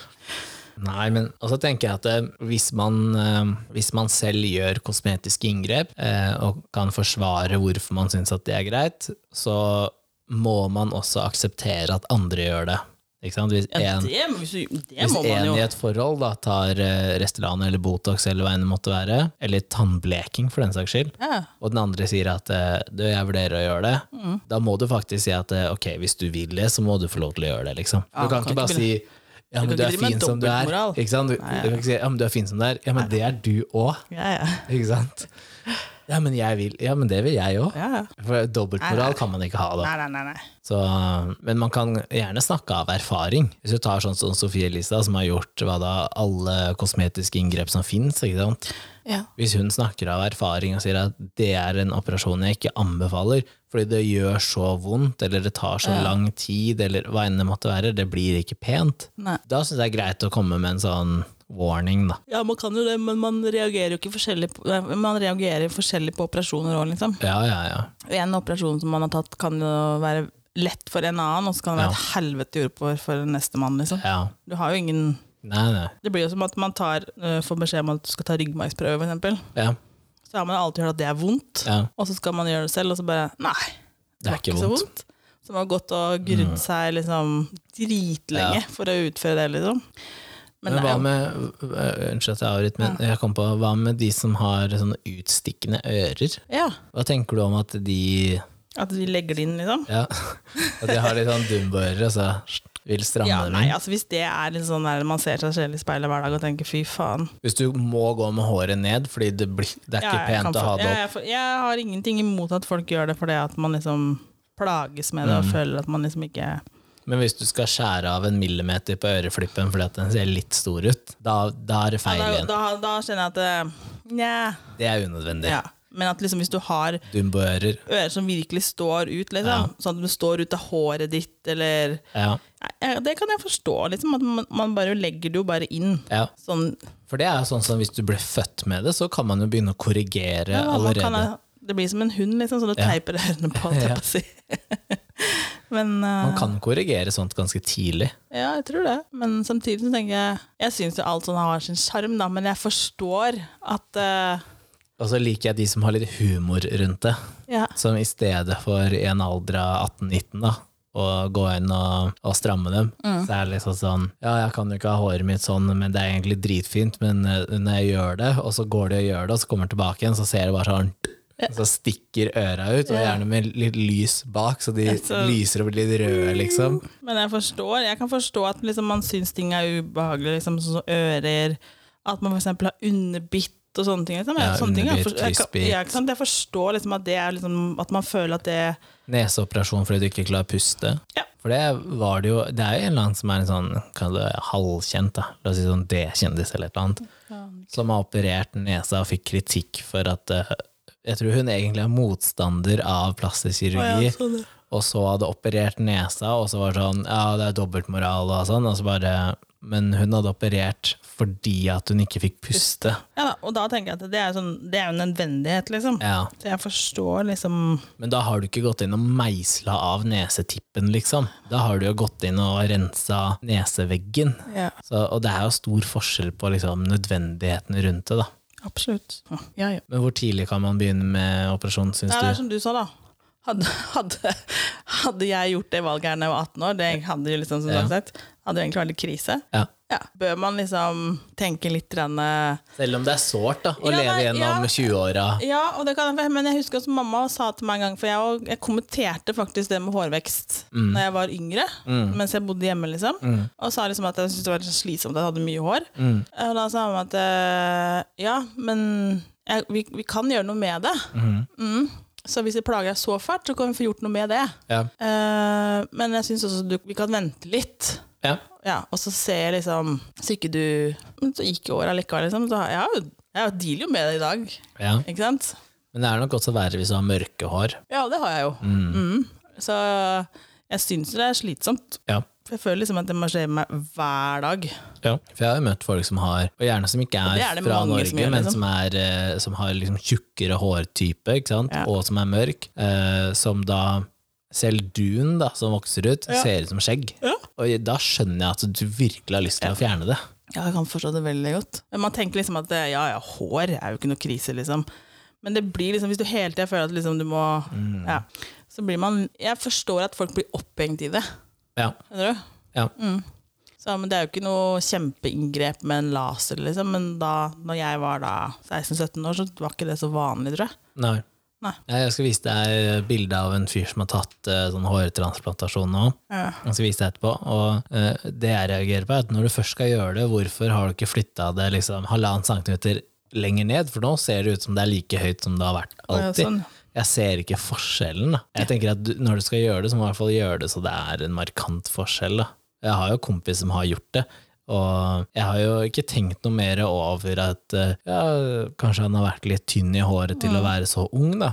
S1: Nei, men og så tenker jeg at eh, hvis man, eh, hvis man selv gjør kosmetiske inngrep, eh, og kan forsvare hvorfor man syns at det er greit, så må man også akseptere at andre gjør det. Ikke sant? Hvis
S2: Ja,
S1: en,
S2: det, må- det
S1: hvis
S2: må man
S1: en
S2: jo.
S1: i et forhold da, tar eh, Restylane eller Botox eller hva enn det måtte være, eller tannbleking for den saks skyld,
S2: Ja.
S1: og den andre sier at eh, du, jeg vurderer å gjøre det,
S2: Mm.
S1: da må du faktisk si at eh, ok, hvis du vil det, så må du få lov til å gjøre det, liksom. Du
S2: Ja,
S1: kan,
S2: kan
S1: ikke bare
S2: ikke
S1: si ja,
S2: kan
S1: men du
S2: ikke
S1: er
S2: drive med
S1: fin som du er.
S2: dobbeltmoral.
S1: Ikke sant? Du, du kan ikke si ja, men du er fin som du er. Ja, men det er du òg,
S2: Ja, ja.
S1: ikke sant? Ja, men jeg vil. Ja, men det vil jeg òg.
S2: Ja, ja.
S1: For
S2: Nei, nei.
S1: dobbeltmoral kan man ikke ha, da.
S2: Nei, nei, nei. nei.
S1: Så, men man kan gjerne snakke av erfaring. Hvis du tar sånn som Sofie Elisa, som har gjort hva da, alle kosmetiske inngrep som fins.
S3: Ja.
S1: Hvis hun snakker av erfaring og sier at det er en operasjon jeg ikke anbefaler, fordi det gjør så vondt, eller det tar så lang tid, eller hva enn det måtte være, det blir ikke pent,
S3: Nei.
S1: da syns jeg det er greit å komme med en sånn warning, da.
S2: Ja, man kan jo det, men man reagerer jo ikke forskjellig på, eh, man reagerer forskjellig på operasjoner òg, liksom.
S1: Ja, ja, ja.
S2: En operasjon som man har tatt, kan jo være lett for en annen, og så kan det være et helvete jord på for nestemann, liksom.
S1: ja.
S2: Du har jo ingen
S1: Nei, nei.
S2: Det blir jo som at man tar, eh, får beskjed om at du skal ta ryggmargsprøve, f.eks.
S1: Ja,
S2: Så har man alltid hørt at det er vondt,
S1: ja.
S2: og så skal man gjøre det selv, og så bare Nei,
S1: Det er ikke vondt. Mm.
S2: Så man har gått og grudd seg liksom dritlenge for å utføre det, liksom.
S1: Men
S2: Men, det
S1: hva
S2: er jo
S1: med øh, Unnskyld at jeg avbryter, men jeg kom på hva med de som har sånne utstikkende ører?
S2: ja,
S1: Hva tenker du om at de
S2: at vi legger det inn, liksom.
S1: ja, At de har litt sånn dumbo-ører og så vil stramme
S2: Ja,
S1: dem
S2: nei,
S1: inn?
S2: altså Hvis det er litt sånn der man ser seg selv i speilet hver dag og tenker 'fy faen'.
S1: Hvis du må gå med håret ned fordi det, blir, det er
S2: Ja,
S1: ikke
S2: jeg kan
S1: pent å
S2: få-
S1: ha det
S2: ja,
S1: opp.
S2: jeg, får- jeg har ingenting imot at folk gjør det fordi at man liksom plages med det
S1: Mm.
S2: og føler at man liksom ikke
S1: Men hvis du skal skjære av en millimeter på øreflippen fordi at den ser litt stor ut, da, da er det feil
S2: da,
S1: igjen.
S2: da, da kjenner jeg at eh, Nja.
S1: Det er unødvendig.
S2: Ja. Men at liksom hvis du har
S1: Dumbo-ører.
S2: ører som virkelig står ut, liksom,
S1: Ja.
S2: sånn at du står ut av håret ditt, eller
S1: Ja,
S2: Nei, jeg- Det kan jeg forstå, liksom, at man, man bare legger det jo bare inn.
S1: ja.
S2: Sånn,
S1: For det er jo sånn som hvis du blir født med det, så kan man jo begynne å korrigere
S2: ja, man
S1: allerede.
S2: kan ha- det blir som en hund, liksom, så du teiper ørene på. holdt jeg på å si. Men eh,
S1: Man kan korrigere sånt ganske tidlig.
S2: ja, jeg tror det. Men samtidig så tenker jeg Jeg syns jo alt sånn har sin sjarm, da, men jeg forstår at eh,
S1: Og så liker jeg de som har litt humor rundt det.
S2: ja,
S1: Som i stedet for i en alder av 18-19, da, å gå inn og, og stramme dem,
S2: Mm.
S1: så er det liksom sånn Ja, jeg kan jo ikke ha håret mitt sånn, men det er egentlig dritfint, men eh, når jeg gjør det, og så går de og gjør det, og så kommer de tilbake igjen, så ser det bare sånn så stikker øra ut, og gjerne med litt lys bak, så de
S2: så-
S1: lyser og blir litt røde, liksom.
S2: Men jeg forstår, jeg kan forstå at liksom man syns ting er ubehagelig, liksom, sånn som ører, at man for eksempel har underbitt og sånne ting. Liksom.
S1: Ja,
S2: sånne ting, jeg
S1: underbitt,
S2: for- jeg, kan-
S1: kryssbitt.
S2: ja, ikke sant? jeg forstår liksom at det er liksom, at man føler at det
S1: Neseoperasjon fordi du ikke klarer å puste.
S2: Ja.
S1: For det var det jo Det er jo en eller annen som er en sånn kall det halvkjent, da. La oss si sånn D-kjendis eller et eller annet. Som har operert nesa og fikk kritikk for at eh, Jeg tror hun egentlig er motstander av plastisk kirurgi.
S2: sånn, ja.
S1: Og så hadde operert nesa, og så var det sånn Ja, det er dobbeltmoral og sånn. Og så bare Men hun hadde operert fordi at hun ikke fikk puste.
S2: ja, da, Og da tenker jeg at det er, sånn, det er jo en nødvendighet, liksom.
S1: Ja.
S2: Så jeg forstår liksom
S1: Men da har du ikke gått inn og meisla av nesetippen, liksom. Da har du jo gått inn og rensa neseveggen.
S2: Ja,
S1: Så, og det er jo stor forskjell på liksom, nødvendigheten rundt det, da.
S2: absolutt. Ja, ja.
S1: Men hvor tidlig kan man begynne med operasjon, syns
S2: Nei, det er sånn-
S1: du?
S2: som du sa, da. Hadde, hadde, hadde jeg gjort det valget her da jeg var 18 år, det hadde jo liksom, som
S1: Ja.
S2: sagt, hadde jo egentlig vært litt krise.
S1: Ja.
S2: Ja. Bør man liksom tenke litt grann, eh,
S1: Selv om det er sårt da, å
S2: Ja,
S1: leve
S2: nei,
S1: gjennom
S2: ja.
S1: 20-åra.
S2: Ja, og det kan, jeg- men jeg husker også mamma sa til meg en gang, for jeg, og- jeg kommenterte faktisk det med hårvekst Når jeg var yngre, mens jeg bodde hjemme, liksom. Og sa liksom at jeg syntes det var så slitsomt at jeg hadde mye hår. Og da sa hun at eh, ja, men jeg, vi, vi kan gjøre noe med det. Mm. Så hvis det plager deg så fælt, så kan vi få gjort noe med det.
S1: Ja.
S2: Eh, men jeg syns også du, vi kan vente litt.
S1: Ja.
S2: Ja, og så ser jeg liksom Så ikke du Men så gikk åra likevel, liksom. Så har- jeg, har jo- jeg dealer jo med det i dag,
S1: ja.
S2: ikke sant?
S1: Men det er nok også verre hvis du har mørke hår.
S2: Ja, det har jeg jo. Mm. Så jeg syns jo det er slitsomt.
S1: Ja.
S2: For jeg føler liksom at det må skje meg hver dag.
S1: Ja. For jeg har jo møtt folk som har, og gjerne som ikke
S2: det
S1: er,
S2: er det
S1: fra
S2: mange
S1: Norge,
S2: som gjør,
S1: men
S2: liksom.
S1: som, er, eh, som har liksom tjukkere hårtype, ikke sant?
S2: Ja.
S1: og som er mørk, eh, som da selv dun da, som vokser ut, ser ut som skjegg.
S2: Ja.
S1: Og da skjønner jeg at du virkelig har lyst til å fjerne det.
S2: Ja, jeg kan forstå det veldig godt. Men man tenker liksom at eh, ja, ja, hår er jo ikke noe krise, liksom. Men det blir liksom, hvis du hele tida føler at liksom du må ja. så blir man Jeg forstår at folk blir opphengt i det.
S1: Ja.
S2: Skjønner du?
S1: Ja.
S2: Mm. Så, men det er jo ikke noe kjempeinngrep med en laser, liksom. Men da når jeg var da 16-17 år, så var ikke det så vanlig, tror jeg.
S1: Nei.
S2: Nei.
S1: Nei, Jeg skal vise deg bilde av en fyr som har tatt eh, sånn hårtransplantasjon nå.
S2: Ja.
S1: Jeg skal vise deg etterpå. Og eh, det jeg reagerer på, er at når du først skal gjøre det, hvorfor har du ikke flytta det liksom halvannen centimeter lenger ned? For nå ser det ut som det er like høyt som det har vært
S2: ja,
S1: alltid.
S2: sånn.
S1: Jeg ser ikke forskjellen. Da. Jeg tenker at du, Når du skal gjøre det, så må du i hvert fall gjøre det så det er en markant forskjell. Da. Jeg har jo kompis som har gjort det, og jeg har jo ikke tenkt noe mer over at eh, ja, kanskje han har vært litt tynn i håret
S2: Mm.
S1: til å være så ung, da.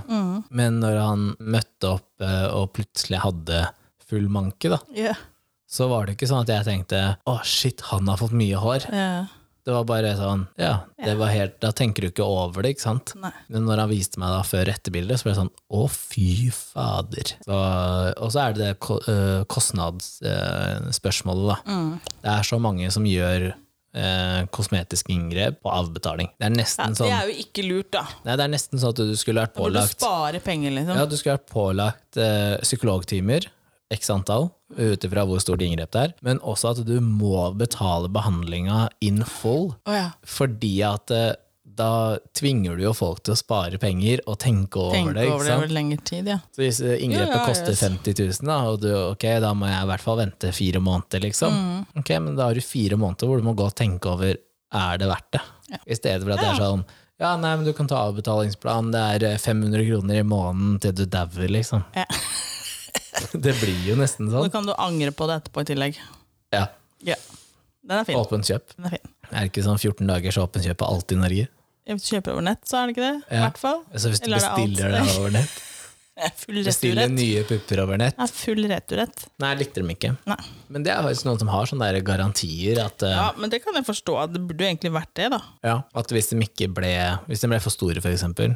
S1: Men når han møtte opp eh, og plutselig hadde full manke, da,
S2: Ja.
S1: så var det ikke sånn at jeg tenkte å shit, han har fått mye hår.
S2: Ja.
S1: Det var bare sånn, ja, det var helt, da tenker du ikke over det, ikke sant?
S2: Nei.
S1: Men når han viste meg da før etterbildet, så ble det sånn, å fy fader. Så, og så er det det ko- øh, kostnadsspørsmålet da.
S2: Mm.
S1: Det er så mange som gjør øh, kosmetiske inngrep på avbetaling. Det er
S2: Ja,
S1: nesten
S2: det
S1: sånn,
S2: er jo ikke lurt, da.
S1: nei, det er nesten sånn at du skulle vært
S2: Da burde du
S1: pålagt,
S2: spare penger, liksom.
S1: ja, du skulle vært pålagt øh, psykologtimer, x antall, ut ifra hvor stort inngrep det er, men også at du må betale behandlinga in full,
S2: Å ja.
S1: fordi at eh, da tvinger du jo folk til å spare penger og tenke over
S2: Tenke
S1: det. ikke
S2: over det
S1: sant?
S2: over lengre tid, ja.
S1: Så hvis eh, inngrepet
S2: Ja, ja,
S1: koster
S2: yes.
S1: 50 000, da, og du, ok, da må jeg i hvert fall vente fire måneder, liksom.
S2: Mm.
S1: Ok, men da har du fire måneder hvor du må gå og tenke over er det verdt det. I stedet for at det er sånn ja, nei, men du kan ta avbetalingsplan, det er eh, 500 kroner i måneden til du dauer, liksom.
S2: Ja.
S1: det blir jo nesten
S2: Så
S1: sånn.
S2: kan du angre på det etterpå i tillegg.
S1: Ja,
S2: Ja. Den er fin.
S1: Åpent kjøp.
S2: Den er fin.
S1: Er det ikke sånn 14 dagers åpent kjøp er alltid i Norge?
S2: Hvis du Kjøper over nett, så er det ikke det? I
S1: Ja.
S2: hvert fall.
S1: Så hvis du
S2: Eller er det alt?
S1: bestiller det over nett
S2: Det er Full
S1: Bestille
S2: returrett.
S1: nye pupper over nett?
S2: Det er full returrett.
S1: Nei, jeg likte dem ikke.
S2: Nei.
S1: Men det er faktisk noen som har sånne der garantier at, eh,
S2: Ja, men det kan jeg forstå. at Det burde jo egentlig vært det, da.
S1: ja, at hvis de ikke ble, hvis de ble for store, for eksempel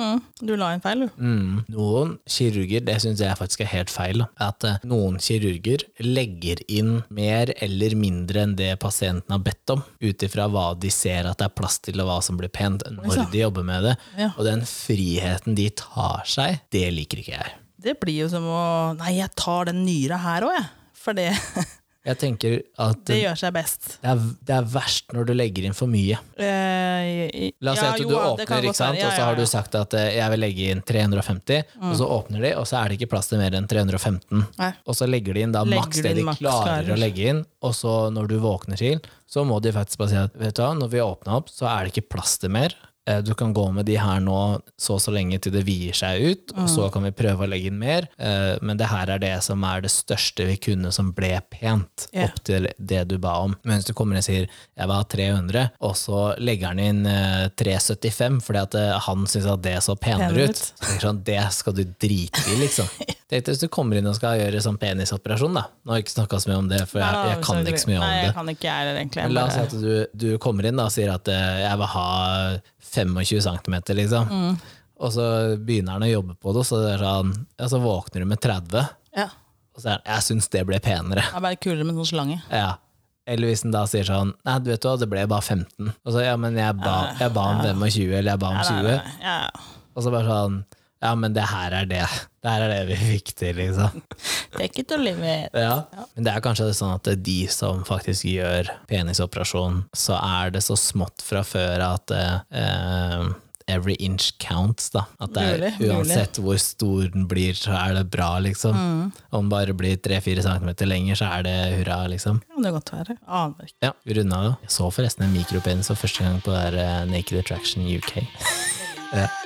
S2: Mm. Du la inn feil, du.
S1: mm, Noen kirurger, det syns jeg faktisk er helt feil, da, at eh, noen kirurger legger inn mer eller mindre enn det pasienten har bedt om, ut ifra hva de ser at det er plass til, og hva som blir pent, når de jobber med det.
S2: Ja.
S1: Og den friheten de tar seg, det liker ikke jeg.
S2: Det blir jo som å Nei, jeg tar den nyra her òg, jeg. For det,
S1: Jeg tenker at
S2: det
S1: det
S2: gjør seg best.
S1: er, det er verst når du legger inn for mye.
S2: Eh,
S1: La oss
S2: ja,
S1: si at
S2: jo
S1: du
S2: da, det kan
S1: åpner,
S2: godt
S1: ikke sant?
S2: være. Ja,
S1: og så
S2: ja, Mm.
S1: har du
S2: ja.
S1: sagt at eh, jeg vil legge inn 350, og så åpner de, og så er det ikke plass til mer enn 315.
S2: Nei.
S1: Og så legger de inn da
S2: Legger
S1: maks
S2: du
S1: det
S2: inn
S1: de
S2: maks,
S1: klarer
S2: klarer.
S1: å legge inn, og så når du våkner til, så må de faktisk bare si at vet du hva, når vi åpner opp, så er det ikke plass til mer. Eh, Du kan gå med de her nå så og så lenge til det vier seg ut, og
S2: Mm.
S1: så kan vi prøve å legge inn mer, eh, men det her er det som er det største vi kunne som ble pent,
S2: Ja.
S1: opp til det du ba om. Men hvis du kommer inn og sier 'jeg vil ha 300', og så legger han inn eh, 375 fordi at eh, han syns at det så penere
S2: Penere
S1: ut,
S2: ut.
S1: så tenker jeg sånn, det skal du drite i, liksom. Tenk deg hvis du kommer inn og skal gjøre sånn penisoperasjon, da. Nå har jeg ikke snakka så mye om det, for
S2: Nei,
S1: jeg,
S2: nei,
S1: jeg kan
S2: sorry.
S1: ikke så mye
S2: Nei,
S1: om
S2: jeg
S1: det.
S2: kan ikke jeg heller, egentlig.
S1: Men la oss si at du, du kommer inn da, og sier at eh, jeg vil ha 25 cm, liksom.
S2: Mm.
S1: Og så begynner han å jobbe på det, og så, det er sånn, ja, så våkner du med 30,
S2: ja.
S1: og så er han 'jeg syns det ble penere'.
S2: Det er bare kulere med en sånn slange.
S1: Ja. Eller hvis den da sier sånn Nei, du vet hva, det ble bare 15. Og så ja, men jeg ba, jeg ba om 25, eller jeg ba om
S2: Nei, nei,
S1: 20.
S2: nei, nei. Ah, Ja, ja.
S1: Og så bare sånn Ja, men det her er det. Det her er det vi fikk til, liksom.
S2: Take it or leave it.
S1: Ja. Men det er kanskje sånn at de som faktisk gjør penisoperasjon, så er det så smått fra før at eh, Every inch counts, da. At det er,
S2: Mulig, mulig.
S1: uansett hvor stor den blir, så er det bra, liksom.
S2: Mm.
S1: Om den bare blir 3-4 centimeter lenger, så er det hurra, liksom.
S2: Kan det godt være. Aner ikke.
S1: Ja, vi runda det. Jeg så forresten en mikropenis for første gang på det der eh, Naked Attraction UK. ja.